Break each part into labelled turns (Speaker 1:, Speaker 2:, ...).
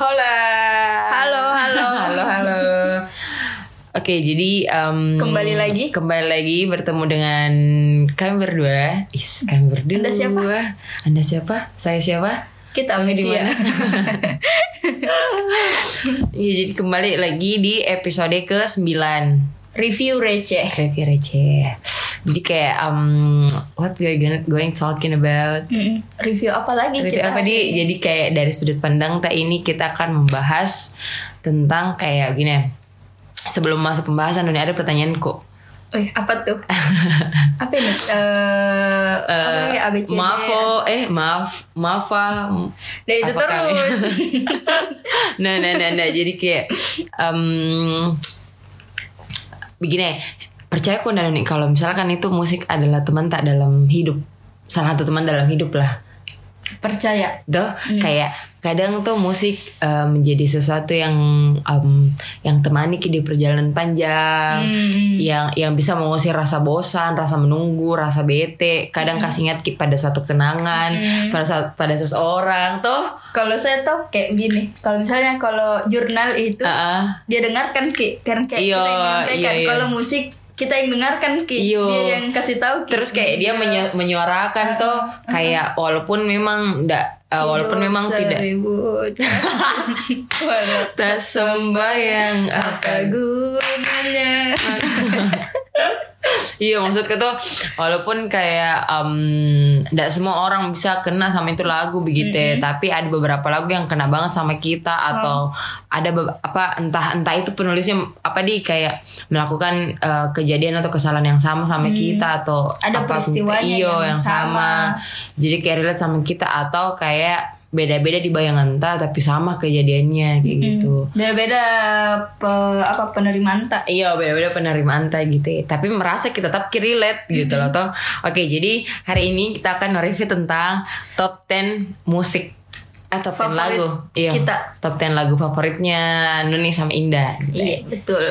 Speaker 1: Hola.
Speaker 2: Halo, halo.
Speaker 3: Halo, halo. Oke, jadi em,
Speaker 2: Kembali lagi.
Speaker 3: kembali lagi bertemu dengan kami berdua. Is, kami berdua.
Speaker 2: Anda siapa?
Speaker 3: Anda siapa? Saya siapa?
Speaker 2: Kita
Speaker 3: Kami di mana?
Speaker 2: amnesia.
Speaker 3: Iya, jadi kembali lagi di episode ke-9
Speaker 2: Review receh.
Speaker 3: Review receh. Jadi kayak em, what we are gonna, going talking about.
Speaker 2: Mm-mm. Review apa lagi
Speaker 3: Review
Speaker 2: kita?
Speaker 3: apa di? Jadi kayak dari sudut pandang tak ini kita akan membahas tentang kayak gini. Sebelum masuk pembahasan, ini ada pertanyaanku.
Speaker 2: Eh, apa tuh? apa ini? Eh, apa
Speaker 3: Eh,
Speaker 2: lagi? ABC.
Speaker 3: Maafo, eh maaf, maafa. m-
Speaker 2: Nah, itu
Speaker 3: apa kami?
Speaker 2: terus.
Speaker 3: nah, nah, nah, nah. Jadi kayak em begini, percaya ku Nani, kalau misalkan itu musik adalah teman tak dalam hidup, salah satu teman dalam hidup lah.
Speaker 2: Percaya.
Speaker 3: Tuh, kayak kadang tuh musik eh, menjadi sesuatu yang em, yang temani di perjalanan panjang
Speaker 2: Hmm.
Speaker 3: yang yang bisa mengusir rasa bosan, rasa menunggu, rasa bete, kadang
Speaker 2: Hmm.
Speaker 3: kasih ingat ki- pada suatu kenangan, pada saat- pada seseorang tuh.
Speaker 2: Kalau saya tuh kayak gini. Kalau misalnya kalau jurnal itu
Speaker 3: Heeh.
Speaker 2: dia dengarkan ki, karena
Speaker 3: Eh.
Speaker 2: kayak
Speaker 3: Iya,
Speaker 2: kita yang menyampaikan.
Speaker 3: iya, iya.
Speaker 2: Kalau musik kita yang dengarkan ki,
Speaker 3: Iya.
Speaker 2: dia yang kasih tahu ki.
Speaker 3: Terus kayak dia menye- menyuarakan tuh kayak walaupun memang ndak eh, walaupun
Speaker 2: Hidup
Speaker 3: memang tidak
Speaker 2: seribu cara. Walau
Speaker 3: tak sembayang
Speaker 2: apa gunanya
Speaker 3: Iya maksudku tuh walaupun kayak em, nggak semua orang bisa kena sama itu lagu begitu ya, tapi ada beberapa lagu yang kena banget sama kita atau ada be- apa entah entah itu penulisnya apa di kayak melakukan eh, kejadian atau kesalahan yang sama sama kita atau
Speaker 2: Mm. Ada
Speaker 3: apa,
Speaker 2: peristiwanya
Speaker 3: iyo,
Speaker 2: yang sama.
Speaker 3: jadi kayak relate sama kita atau kayak beda-beda di bayangan ta tapi sama kejadiannya kayak gitu
Speaker 2: beda-beda pe- apa penerimaan tak
Speaker 3: Iya beda-beda penerimaan teh gitu ya. Tapi merasa kita tetap relate gitu loh toh. Oke jadi hari ini kita akan review tentang top 10 musik atau top 10
Speaker 2: Favorit
Speaker 3: lagu. Iya.
Speaker 2: kita.
Speaker 3: Top 10 lagu favoritnya Nuni sama Indah. gitu ya.
Speaker 2: iya betul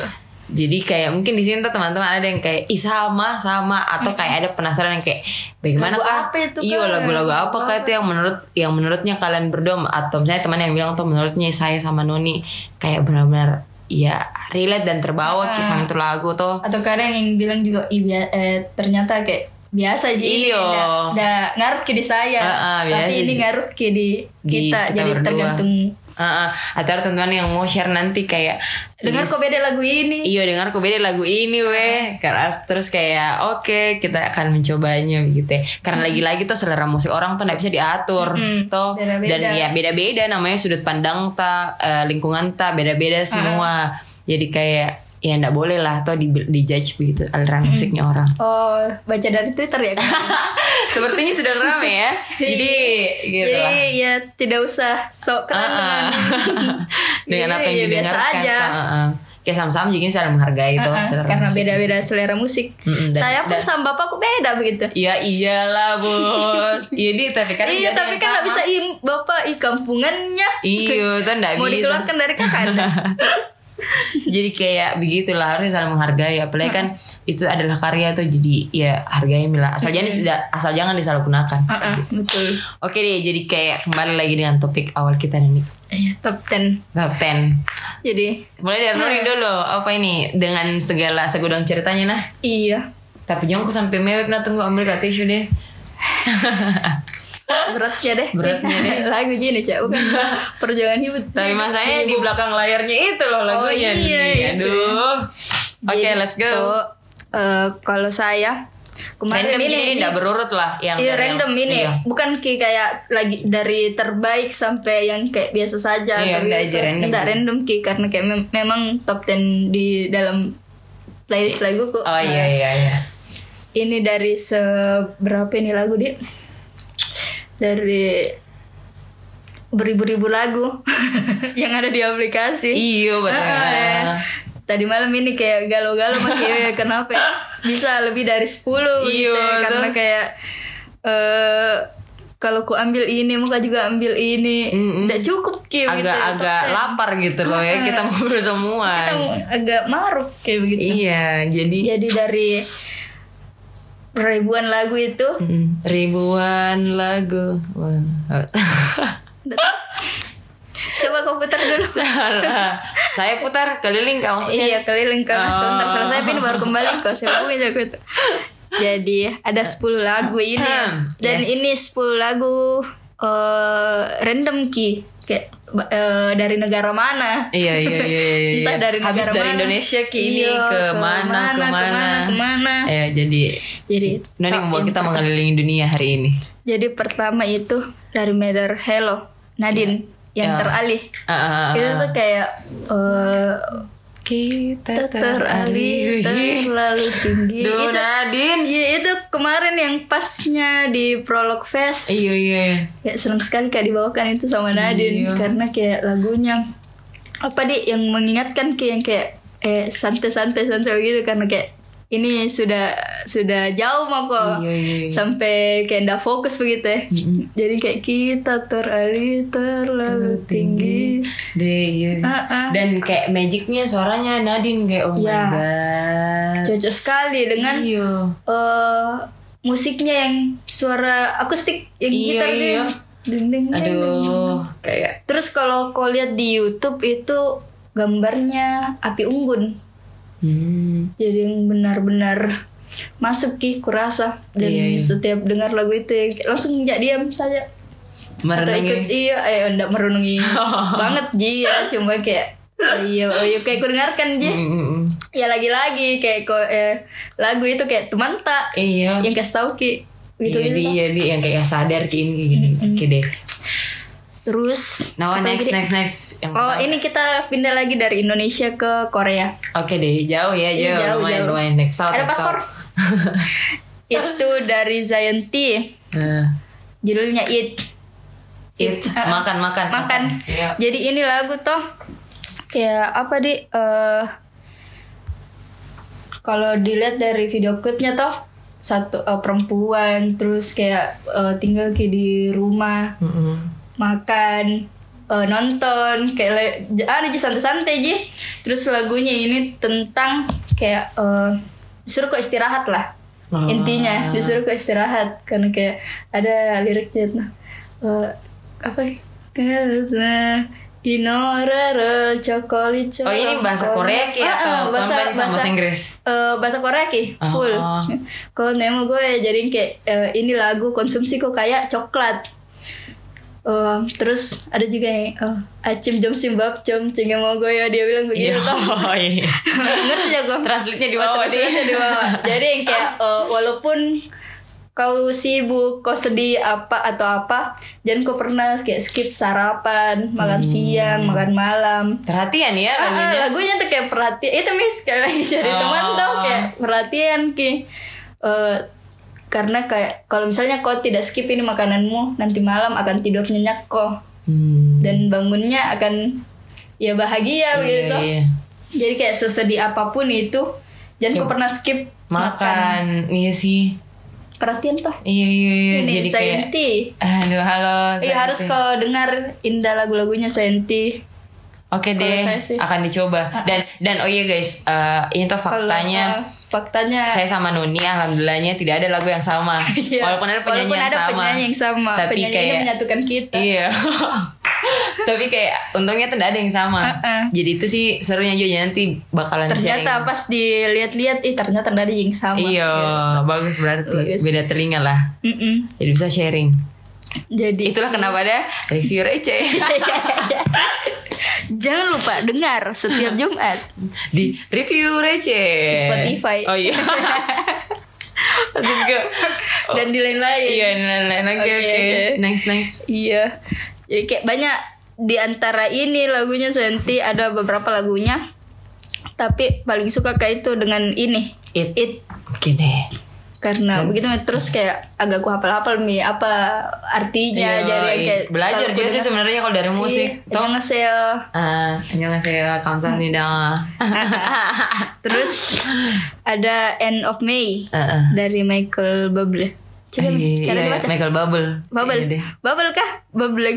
Speaker 3: Jadi kayak mungkin di sini tuh teman-teman ada yang kayak ih sama sama atau kayak ada penasaran yang kayak bagaimana
Speaker 2: Lagu
Speaker 3: kah?
Speaker 2: apa itu,
Speaker 3: Iya
Speaker 2: Kak?
Speaker 3: lagu-lagu apa
Speaker 2: Lagu
Speaker 3: kah itu yang menurut yang menurutnya kalian berdua atau misalnya teman yang bilang tuh menurutnya saya sama Noni kayak benar-benar ya relate dan
Speaker 2: Ah.
Speaker 3: terbawa kisah itu lagu tuh.
Speaker 2: atau kadang yang bilang juga "Ih, bia- eh, ternyata kayak biasa aja ini
Speaker 3: Iya.
Speaker 2: da, da ngaruh ke di saya
Speaker 3: Ah, ah,
Speaker 2: tapi
Speaker 3: biasa
Speaker 2: ini
Speaker 3: di-
Speaker 2: ngaruh ke di
Speaker 3: di
Speaker 2: kita,
Speaker 3: kita
Speaker 2: jadi
Speaker 3: berdua. Iya
Speaker 2: tergantung
Speaker 3: Heeh. Atau ada teman-teman yang mau share nanti kayak
Speaker 2: dengar
Speaker 3: list-
Speaker 2: kok beda lagu ini
Speaker 3: Iya dengar kok beda lagu ini weh Keras terus kayak oke kita akan mencobanya gitu ya. Karena lagi-lagi tuh selera musik orang tuh gak bisa diatur
Speaker 2: Mm-mm,
Speaker 3: tuh
Speaker 2: beda-beda.
Speaker 3: Dan ya beda-beda namanya sudut pandang ta eh, lingkungan ta
Speaker 2: Ah.
Speaker 3: beda-beda semua Jadi kayak ya gak boleh lah tuh di, di judge begitu aliran musiknya orang
Speaker 2: oh baca dari twitter ya Kak?
Speaker 3: Sepertinya sudah rame ya Jadi gitu
Speaker 2: jadi
Speaker 3: lah
Speaker 2: ya tidak usah sok keren
Speaker 3: Ah, ah. dengan
Speaker 2: Iya,
Speaker 3: apa yang
Speaker 2: iya, biasa
Speaker 3: didengarkan
Speaker 2: aja.
Speaker 3: Kak, ah, ah. Kayak sama-sama jadi saling menghargai tuh
Speaker 2: Ah,
Speaker 3: Gitu, selera
Speaker 2: karena
Speaker 3: musik.
Speaker 2: beda-beda selera musik
Speaker 3: Mm-mm, dan-
Speaker 2: saya pun
Speaker 3: dan-
Speaker 2: sama bapakku beda begitu
Speaker 3: Ya iyalah bos. Iya di tapi kan jadi
Speaker 2: iya tapi
Speaker 3: yang
Speaker 2: kan nggak
Speaker 3: sama.
Speaker 2: bisa im bapak i kampungannya
Speaker 3: Iya, itu nggak
Speaker 2: mau
Speaker 3: bisa.
Speaker 2: dikeluarkan dari kakak Anda.
Speaker 3: Jadi kayak begitulah harusnya saling menghargai apalagi kan itu adalah karya tuh jadi ya hargai mila asal jangan tidak- asal jangan disalahgunakan.
Speaker 2: Ah, ah, betul
Speaker 3: Oke deh jadi kayak kembali lagi dengan topik awal kita nih.
Speaker 2: iya top 10
Speaker 3: Top 10.
Speaker 2: jadi
Speaker 3: Mulai dari
Speaker 2: Nah.
Speaker 3: Nuri dulu apa ini dengan segala segudang ceritanya nah.
Speaker 2: iya
Speaker 3: Tapi jangan aku sampai mewek nah tunggu ambil kak tisu deh.
Speaker 2: beratnya deh
Speaker 3: Beratnya deh.
Speaker 2: lagu gini cak bukan perjuangan hidup
Speaker 3: Tapi masanya di belakang layarnya itu loh lagunya
Speaker 2: Oh, iya,
Speaker 3: nih.
Speaker 2: itu.
Speaker 3: Aduh. Oke,
Speaker 2: Jadi,
Speaker 3: let's go.
Speaker 2: tuh, eh, kalau saya kemarin
Speaker 3: random ini,
Speaker 2: ini
Speaker 3: tidak berurut lah yang dari
Speaker 2: Iya
Speaker 3: yang-
Speaker 2: random ini
Speaker 3: iya.
Speaker 2: bukan ki kayak lagi dari terbaik sampai yang kayak biasa saja
Speaker 3: Iya,
Speaker 2: tapi
Speaker 3: enggak
Speaker 2: itu
Speaker 3: aja random.
Speaker 2: enggak random ki karena kayak mem- memang top 10 di dalam playlist laguku
Speaker 3: oh iya iya iya
Speaker 2: ini dari seberapa ini lagu dia dari beribu-ribu lagu yang ada di aplikasi
Speaker 3: iyo betul
Speaker 2: Ah, ah, ya. Tadi malam ini kayak galau-galau makanya kenapa ya? bisa lebih dari 10 gitu
Speaker 3: Iya,
Speaker 2: ya. karena
Speaker 3: terus-
Speaker 2: kayak eh kalau ku ambil ini muka juga ambil ini
Speaker 3: Mm-mm.
Speaker 2: nggak cukup gitu
Speaker 3: agak
Speaker 2: ya,
Speaker 3: agak
Speaker 2: top ten.
Speaker 3: lapar gitu loh ya kita ngobrol semua
Speaker 2: Kita Ya. mau agak maruk kayak begitu
Speaker 3: iya jadi
Speaker 2: jadi dari ribuan lagu itu
Speaker 3: Mm, ribuan lagu Wan-
Speaker 2: Coba kau putar dulu.
Speaker 3: Salah. Saya putar keliling kak maksudnya.
Speaker 2: iya keliling karena
Speaker 3: Oh.
Speaker 2: sebentar selesai pin baru kembali ke sebuahnya gitu. Jadi ada 10 lagu ini dan
Speaker 3: Yes.
Speaker 2: ini 10 lagu eh random ki kayak ba- eh, dari negara mana?
Speaker 3: Iya iya iya. iya, iya.
Speaker 2: Entah dari
Speaker 3: Habis
Speaker 2: negara
Speaker 3: dari
Speaker 2: mana.
Speaker 3: Indonesia ke ini
Speaker 2: Iya,
Speaker 3: ke, mana ke mana.
Speaker 2: kemana.
Speaker 3: Ya jadi
Speaker 2: Jadi
Speaker 3: Noni
Speaker 2: oh,
Speaker 3: membawa
Speaker 2: yang
Speaker 3: kita
Speaker 2: pertama-
Speaker 3: mengelilingi dunia hari ini.
Speaker 2: Jadi pertama itu dari Mother Hello Nadine yang
Speaker 3: Ya.
Speaker 2: teralih.
Speaker 3: Ah, ah, ah,
Speaker 2: Itu
Speaker 3: ah.
Speaker 2: tuh kayak eh,
Speaker 3: Kita Iya.
Speaker 2: teralih Iya. terlalu tinggi.
Speaker 3: Duh, nah.
Speaker 2: itu
Speaker 3: Nadine.
Speaker 2: Iya itu kemarin yang pasnya di Prolog Fest.
Speaker 3: Iya iya.
Speaker 2: Ya seneng sekali kayak dibawakan itu sama Nadine karena kayak lagunya apa di yang mengingatkan kayak yang kayak eh santai-santai santai gitu karena kayak ini sudah sudah jauh mau
Speaker 3: Iya, iya,
Speaker 2: kok Oh.
Speaker 3: iya.
Speaker 2: sampai kayak ndak fokus begitu ya. Jadi kayak kita teralih terlalu tinggi.
Speaker 3: Deh, iya.
Speaker 2: Ah, ah.
Speaker 3: Dan kayak magicnya suaranya Nadine kayak oh
Speaker 2: Ya.
Speaker 3: my god.
Speaker 2: Cocok sekali dengan
Speaker 3: Iya.
Speaker 2: eh musiknya yang suara akustik yang
Speaker 3: Iya,
Speaker 2: gitar
Speaker 3: iya.
Speaker 2: ding, ding, ding, ding, ding.
Speaker 3: Aduh, kayak
Speaker 2: Terus kalau kau lihat di YouTube itu gambarnya api unggun.
Speaker 3: hmm.
Speaker 2: Jadi yang benar-benar masuk ki kurasa dan
Speaker 3: Iya, iya.
Speaker 2: setiap dengar lagu itu ya, langsung nggak diam saja atau ikut
Speaker 3: merenungi.
Speaker 2: iya eh enggak merenungi banget ji ya cuma kayak oh iya oh iya kayak ku dengarkan ji
Speaker 3: Mm, mm, mm.
Speaker 2: ya lagi-lagi kayak kau eh, lagu itu kayak teman tak
Speaker 3: Iya.
Speaker 2: yang kasih tahu ki gitu
Speaker 3: iya,
Speaker 2: gitu
Speaker 3: di, iya, di, yang kayak sadar kayak ini kayak gini. Oke deh.
Speaker 2: terus
Speaker 3: Nah,
Speaker 2: apa
Speaker 3: next,
Speaker 2: lagi, Di?
Speaker 3: next, next. Yang
Speaker 2: oh
Speaker 3: pertama.
Speaker 2: ini kita pindah lagi dari Indonesia ke Korea
Speaker 3: Oke deh, jauh ya,
Speaker 2: Iya,
Speaker 3: jauh.
Speaker 2: jauh,
Speaker 3: lumayan,
Speaker 2: jauh.
Speaker 3: lumayan. Next, pesawat,
Speaker 2: Ada
Speaker 3: naik pesawat.
Speaker 2: paspor? itu dari Zion T
Speaker 3: Nah,
Speaker 2: judulnya It
Speaker 3: Eat,
Speaker 2: Ah, ah.
Speaker 3: makan, makan.
Speaker 2: makan
Speaker 3: Iya.
Speaker 2: jadi ini lagu toh kayak apa di eh kalau dilihat dari video klipnya toh satu eh, perempuan terus kayak eh, tinggal kayak di rumah
Speaker 3: Mm-mm.
Speaker 2: makan eh, nonton kayak le- j- ah aja santai-santai aja terus lagunya ini tentang kayak eh, disuruh kok istirahat lah
Speaker 3: Ah.
Speaker 2: intinya disuruh kok istirahat karena kayak ada liriknya nah eh, apa ya? karena inorere cokoli
Speaker 3: Oh ini bahasa Korea ki
Speaker 2: Ah, ah,
Speaker 3: atau
Speaker 2: bahasa
Speaker 3: bahasa, sama
Speaker 2: bahasa
Speaker 3: bahasa Inggris?
Speaker 2: eh, bahasa Korea ki
Speaker 3: Ah.
Speaker 2: full kalau nemu gue jadi kayak eh, ini lagu konsumsi kok kayak coklat Eh, terus ada juga yang eh, acim jom simbab jom cingemo gue dia bilang begitu toh
Speaker 3: iya.
Speaker 2: ngerti ya gue
Speaker 3: Translate-nya di bawah,
Speaker 2: Translate-nya di bawah. jadi yang kayak eh, walaupun kau sibuk kau sedih apa atau apa jangan kau pernah kayak skip sarapan
Speaker 3: Hmm.
Speaker 2: makan siang makan malam
Speaker 3: Perhatian ya
Speaker 2: Ah, ah,
Speaker 3: lagunya.
Speaker 2: lagunya tuh kayak perhatian itu mis sekali lagi jadi
Speaker 3: Oh.
Speaker 2: teman tuh kayak perhatian ki Eh, karena kayak kalau misalnya kau tidak skip ini makananmu nanti malam akan tidur nyenyak kok
Speaker 3: Hmm.
Speaker 2: dan bangunnya akan ya bahagia
Speaker 3: Iya,
Speaker 2: begitu
Speaker 3: iya.
Speaker 2: jadi kayak sesedih apapun itu jangan kau pernah
Speaker 3: Iya.
Speaker 2: skip
Speaker 3: Makan, iya sih.
Speaker 2: perhatian tuh
Speaker 3: Iya iya iya.
Speaker 2: ini
Speaker 3: Jadi kayak
Speaker 2: Sayanti
Speaker 3: Halo, halo.
Speaker 2: Iya
Speaker 3: Santi.
Speaker 2: harus kau dengar indah lagu-lagunya Sayanti
Speaker 3: Oke
Speaker 2: Kalau
Speaker 3: deh,
Speaker 2: saya sih. Ah,
Speaker 3: akan dicoba. Dan dan oh iya guys, eh, ini tuh
Speaker 2: Kalau,
Speaker 3: faktanya
Speaker 2: ah, faktanya
Speaker 3: saya sama Nuni alhamdulillahnya tidak ada lagu yang sama.
Speaker 2: Iya.
Speaker 3: Walaupun ada penyanyi
Speaker 2: Walaupun
Speaker 3: yang
Speaker 2: ada
Speaker 3: sama.
Speaker 2: penyanyi yang sama.
Speaker 3: Tapi
Speaker 2: penyanyi ini
Speaker 3: kayak-
Speaker 2: menyatukan kita.
Speaker 3: Iya. Tapi kayak untungnya tuh tidak ada yang sama.
Speaker 2: Heeh.
Speaker 3: Jadi itu sih serunya juga nanti bakalan
Speaker 2: Ah, Ternyata
Speaker 3: sharing.
Speaker 2: pas dilihat-lihat, ih ternyata nggak ada yang sama.
Speaker 3: Iya, bagus berarti.
Speaker 2: Bagus.
Speaker 3: Beda telinga lah.
Speaker 2: Mm-mm.
Speaker 3: Jadi bisa sharing.
Speaker 2: Jadi
Speaker 3: Itulah kenapa ada review receh
Speaker 2: jangan lupa dengar setiap Jumat.
Speaker 3: di review receh.
Speaker 2: Di Spotify.
Speaker 3: Oh iya. Juga.
Speaker 2: Dan di lain-lain.
Speaker 3: Oh. Iya, nah, nah, nah, oke
Speaker 2: Oke,
Speaker 3: oke.
Speaker 2: oke.
Speaker 3: Next next.
Speaker 2: Iya. Jadi kayak banyak di antara ini lagunya Senti ada beberapa lagunya. Tapi paling suka kayak itu dengan ini.
Speaker 3: It.
Speaker 2: It.
Speaker 3: Oke deh.
Speaker 2: karena begitu terus kayak agak ku hafal-hafal mi apa artinya
Speaker 3: Yoi.
Speaker 2: Iya, jadi kayak
Speaker 3: Iya, belajar
Speaker 2: kalau
Speaker 3: dia
Speaker 2: ku
Speaker 3: sih
Speaker 2: dengar-
Speaker 3: sebenarnya kalau dari musik.
Speaker 2: Iya, Hmm.
Speaker 3: Toh.
Speaker 2: annyeonghaseyo.
Speaker 3: Ah, 안녕하세요.
Speaker 2: Ah.
Speaker 3: 감사합니다.
Speaker 2: terus ada End of May
Speaker 3: Eh, eh.
Speaker 2: dari Michael Bublé coba Mi,
Speaker 3: Iya,
Speaker 2: cara
Speaker 3: iya,
Speaker 2: dibaca
Speaker 3: Michael Bubble.
Speaker 2: Bubble
Speaker 3: Iya deh.
Speaker 2: Bubble kah Bublé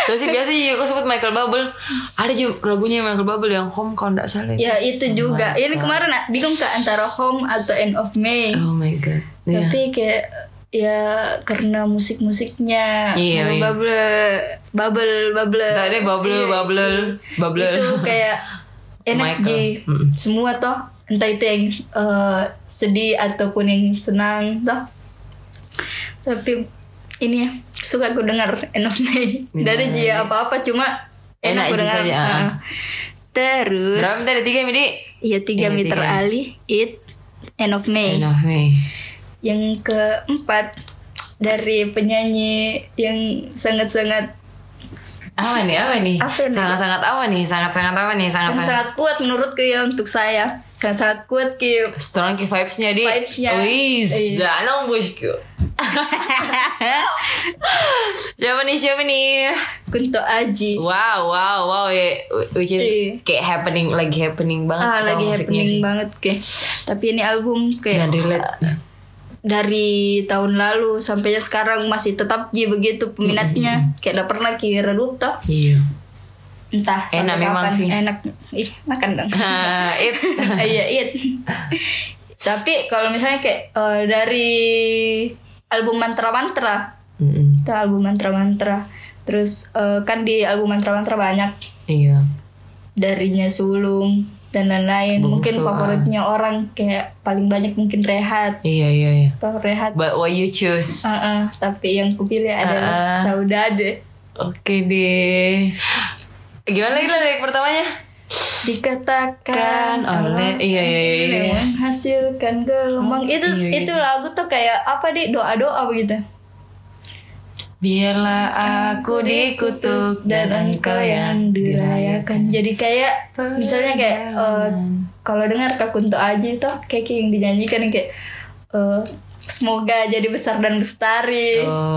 Speaker 3: Terus sih biasa juga aku sebut Michael Bubble.
Speaker 2: Hmm.
Speaker 3: Ada juga lagunya Michael Bubble yang Home kalau nggak salah. itu.
Speaker 2: ya itu juga ini kemarin ah, bingung ke antara Home atau End of May
Speaker 3: Oh my god. Oh, Iya.
Speaker 2: tapi kayak ya karena musik-musiknya
Speaker 3: Iya, iya.
Speaker 2: bubble bubble bubble
Speaker 3: Tadi bubble,
Speaker 2: Iya.
Speaker 3: bubble, bubble.
Speaker 2: itu kayak energi
Speaker 3: Michael. Mm-mm.
Speaker 2: semua toh entah itu yang eh, sedih ataupun yang senang toh tapi ini ya suka aku dengar end of May dari dia apa apa cuma
Speaker 3: Enak
Speaker 2: enak aku
Speaker 3: aja
Speaker 2: dengar
Speaker 3: saja, ah.
Speaker 2: Ah. terus
Speaker 3: Berapa tadi tiga midi?
Speaker 2: ya tiga
Speaker 3: Ini
Speaker 2: meter
Speaker 3: tiga.
Speaker 2: ali it end of May
Speaker 3: Enough me.
Speaker 2: yang keempat dari penyanyi yang sangat-sangat
Speaker 3: Apa nih? Apa nih?
Speaker 2: Apa nih?
Speaker 3: Sangat-sangat apa nih? Sangat-sangat apa nih? Sangat-sangat
Speaker 2: sangat-sangat kuat menurutku ya untuk saya sangat-sangat kuat ki
Speaker 3: strong ki vibes-nya di.
Speaker 2: Vibes-nya.
Speaker 3: Wis,
Speaker 2: Iya.
Speaker 3: dah nong bosku. siapa nih? Siapa nih?
Speaker 2: Kunto Aji
Speaker 3: Wow, wow, wow. ya. Which is
Speaker 2: Iya.
Speaker 3: kayak happening, lagi happening banget.
Speaker 2: ah
Speaker 3: tau
Speaker 2: lagi
Speaker 3: musiknya
Speaker 2: happening
Speaker 3: sih. Iya,
Speaker 2: banget ki tapi ini album
Speaker 3: Dan
Speaker 2: kayak
Speaker 3: relate.
Speaker 2: dari tahun lalu sampai sekarang masih tetap ji begitu peminatnya kayak udah pernah ki redup toh
Speaker 3: Iya.
Speaker 2: entah sampai
Speaker 3: Enak memang
Speaker 2: kapan.
Speaker 3: sih.
Speaker 2: enak ih makan dong
Speaker 3: Ah, it.
Speaker 2: iya iya tapi kalau misalnya kayak eh, dari album mantra mantra
Speaker 3: Mm-mm.
Speaker 2: itu album mantra mantra terus eh, kan di album mantra mantra banyak
Speaker 3: Iya.
Speaker 2: darinya sulung dan
Speaker 3: Bungsu,
Speaker 2: lain-lain
Speaker 3: ah.
Speaker 2: mungkin favoritnya orang kayak paling banyak mungkin rehat
Speaker 3: Iya, iya, iya.
Speaker 2: toh rehat
Speaker 3: But what you choose?
Speaker 2: Heeh, tapi yang kupilih
Speaker 3: Ah.
Speaker 2: adalah saudade
Speaker 3: Oke deh. Gimana lagi lah lirik pertamanya? Kan
Speaker 2: dikatakan
Speaker 3: oleh-
Speaker 2: orang
Speaker 3: iya, iya, iya,
Speaker 2: yang
Speaker 3: iya.
Speaker 2: menghasilkan gelombang itu
Speaker 3: iya, iya.
Speaker 2: itu lagu tuh kayak apa di doa doa begitu
Speaker 3: Biarlah aku dikutuk dan engkau yang dirayakan.
Speaker 2: jadi kayak misalnya kayak eh, kalau dengar Kak Kunto Aji itu kayak yang dinyanyikan yang kayak eh, semoga jadi besar dan bestari
Speaker 3: Oh,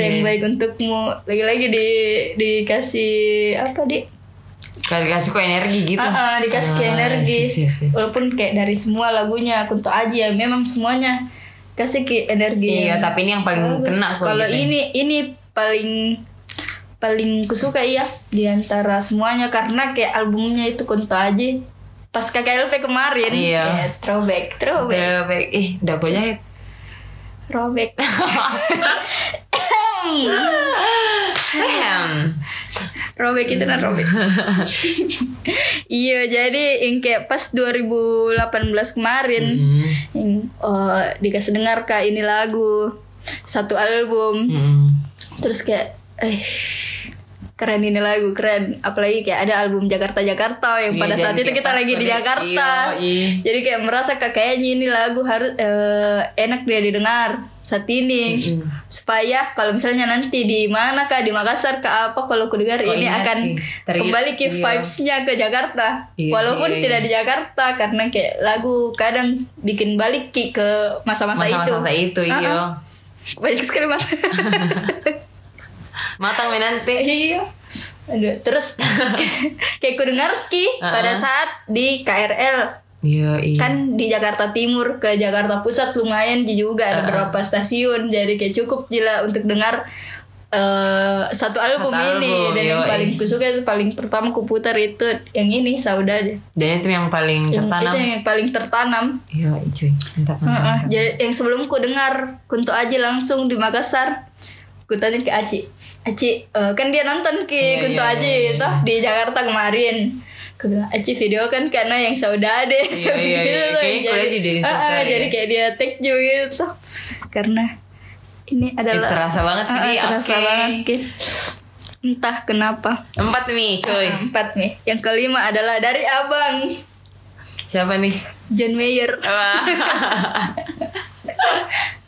Speaker 3: iya sih.
Speaker 2: yang baik untukmu lagi-lagi di dikasih apa di
Speaker 3: Kayak kasih kok energi gitu.
Speaker 2: Ah, ah, dikasih kayak
Speaker 3: Ah,
Speaker 2: energi
Speaker 3: sip, sip, sip.
Speaker 2: walaupun kayak dari semua lagunya Kunto Aji ya memang semuanya kasih kayak energi
Speaker 3: Iya,
Speaker 2: yang
Speaker 3: tapi ini yang paling
Speaker 2: Bagus.
Speaker 3: kena kok.
Speaker 2: Kalau
Speaker 3: gitu.
Speaker 2: ini ini paling paling kusuka iya di antara semuanya karena kayak albumnya itu Kunto Aji pas KKLP kemarin
Speaker 3: Iya.
Speaker 2: ya, throwback throwback
Speaker 3: Throwback. Ih, udah kok jahit.
Speaker 2: throwback
Speaker 3: Damn.
Speaker 2: throwback itu kan throwback iya jadi yang kayak pas 2018 kemarin
Speaker 3: Mm.
Speaker 2: yang eh, dikasih dengar kak ini lagu satu album
Speaker 3: Mm.
Speaker 2: terus kayak eh keren ini lagu keren apalagi kayak ada album Jakarta Jakarta yang
Speaker 3: Iya,
Speaker 2: pada
Speaker 3: dan
Speaker 2: saat itu
Speaker 3: kayak
Speaker 2: kita
Speaker 3: pas
Speaker 2: lagi di
Speaker 3: pada-
Speaker 2: Jakarta
Speaker 3: iya, iya.
Speaker 2: jadi kayak merasa kayak kayaknya ini lagu harus eh, enak dia didengar saat ini
Speaker 3: Mm-mm.
Speaker 2: supaya kalau misalnya nanti di mana kak di Makassar ke apa kalau ku dengar
Speaker 3: Kok
Speaker 2: ini
Speaker 3: ingat,
Speaker 2: akan
Speaker 3: ih, teringat,
Speaker 2: kembali ke
Speaker 3: iya.
Speaker 2: vibes-nya ke Jakarta
Speaker 3: Iya,
Speaker 2: walaupun
Speaker 3: iya, iya.
Speaker 2: tidak di Jakarta karena kayak lagu kadang bikin balik Ki, ke masa-masa itu
Speaker 3: Masa-masa itu,
Speaker 2: Ah,
Speaker 3: iya.
Speaker 2: ah. banyak sekali mas
Speaker 3: Matang men nanti.
Speaker 2: Iya. Aduh, terus kayak ku dengar Ki pada saat di KRL
Speaker 3: Iya, iya.
Speaker 2: kan di Jakarta Timur ke Jakarta Pusat lumayan ji
Speaker 3: Ah,
Speaker 2: juga ada beberapa stasiun jadi kayak cukup jila untuk dengar eh, satu album
Speaker 3: Satu
Speaker 2: ini
Speaker 3: album,
Speaker 2: dan yang
Speaker 3: yoi.
Speaker 2: paling kusuka itu paling pertama ku putar itu yang ini saudara
Speaker 3: Dan itu yang paling
Speaker 2: yang itu
Speaker 3: tertanam.
Speaker 2: yang paling tertanam
Speaker 3: Iya, cuy. Mantap, mantap.
Speaker 2: Heeh, jadi yang sebelum ku dengar Kunto Aji langsung di Makassar ku tanya ke Aci Aci eh, kan dia nonton
Speaker 3: Iya,
Speaker 2: ke Kunto
Speaker 3: iya,
Speaker 2: Aji
Speaker 3: iya,
Speaker 2: toh di Jakarta kemarin ku bilang Aci video kan karena yang saudade
Speaker 3: Iya, iya, iya.
Speaker 2: Gitu tuh,
Speaker 3: Kayaknya ku lihat di
Speaker 2: jadi,
Speaker 3: Instastory
Speaker 2: Heeh,
Speaker 3: ya.
Speaker 2: jadi kayak dia tag juga gitu toh. karena ini adalah
Speaker 3: Ih, terasa banget,
Speaker 2: Heeh,
Speaker 3: jadi
Speaker 2: terasa
Speaker 3: oke.
Speaker 2: banget Ki. entah kenapa Nah,
Speaker 3: Empat nih, cuy.
Speaker 2: empat nih yang kelima adalah dari abang
Speaker 3: Siapa nih?
Speaker 2: John Mayer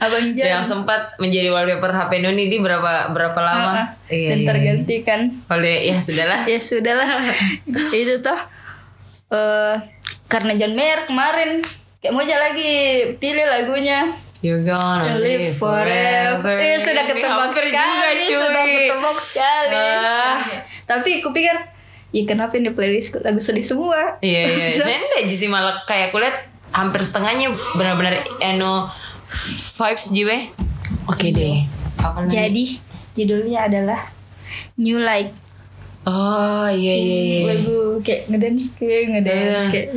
Speaker 2: abang John
Speaker 3: yang sempat menjadi wallpaper HP Nuni di berapa berapa lama? Iya,
Speaker 2: Ah, ah. dan tergantikan
Speaker 3: Oleh ya sudahlah.
Speaker 2: ya sudahlah itu toh eh karena John Mayer kemarin kayak mau aja lagi pilih lagunya
Speaker 3: You're gonna
Speaker 2: Live Forever Iya sudah
Speaker 3: Ini
Speaker 2: ketebak
Speaker 3: hampir juga,
Speaker 2: sekali
Speaker 3: cuy.
Speaker 2: sudah ketebak sekali
Speaker 3: Ah.
Speaker 2: tapi kupikir ya kenapa ini playlist lagu sedih semua
Speaker 3: Iya iya. Sebenarnya enggak sih malah kayak aku lihat hampir setengahnya benar-benar eno vibes jiwe. Oke deh. Apa namanya?
Speaker 2: jadi judulnya adalah New Light
Speaker 3: Oh iya iya iya.
Speaker 2: lagu kayak ngedance kayak ngedance
Speaker 3: Iya.
Speaker 2: kayak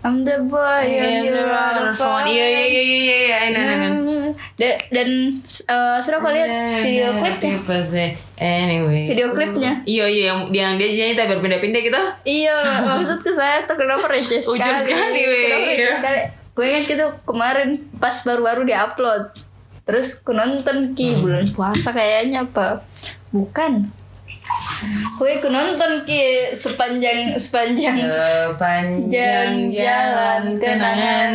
Speaker 2: I'm the boy
Speaker 3: Iya
Speaker 2: you're the
Speaker 3: iya iya iya iya. Enak enak.
Speaker 2: Nah, Da- dan eh, suruh kau lihat video klipnya
Speaker 3: klipnya. Anyway.
Speaker 2: video klipnya
Speaker 3: Nah, Iya iya yang, yang dia nyanyi tapi berpindah-pindah gitu. kita.
Speaker 2: iya maksudku saya tuh kenapa receh sekali
Speaker 3: Ujung sekali, weh.
Speaker 2: Kenapa receh
Speaker 3: Iya.
Speaker 2: sekali gue ingat gitu kemarin pas baru-baru di upload terus ku nonton ki
Speaker 3: Hmm.
Speaker 2: bulan puasa kayaknya apa bukan gue ku nonton ki sepanjang sepanjang
Speaker 3: Eh, Sepanjang
Speaker 2: Jam jalan kenangan.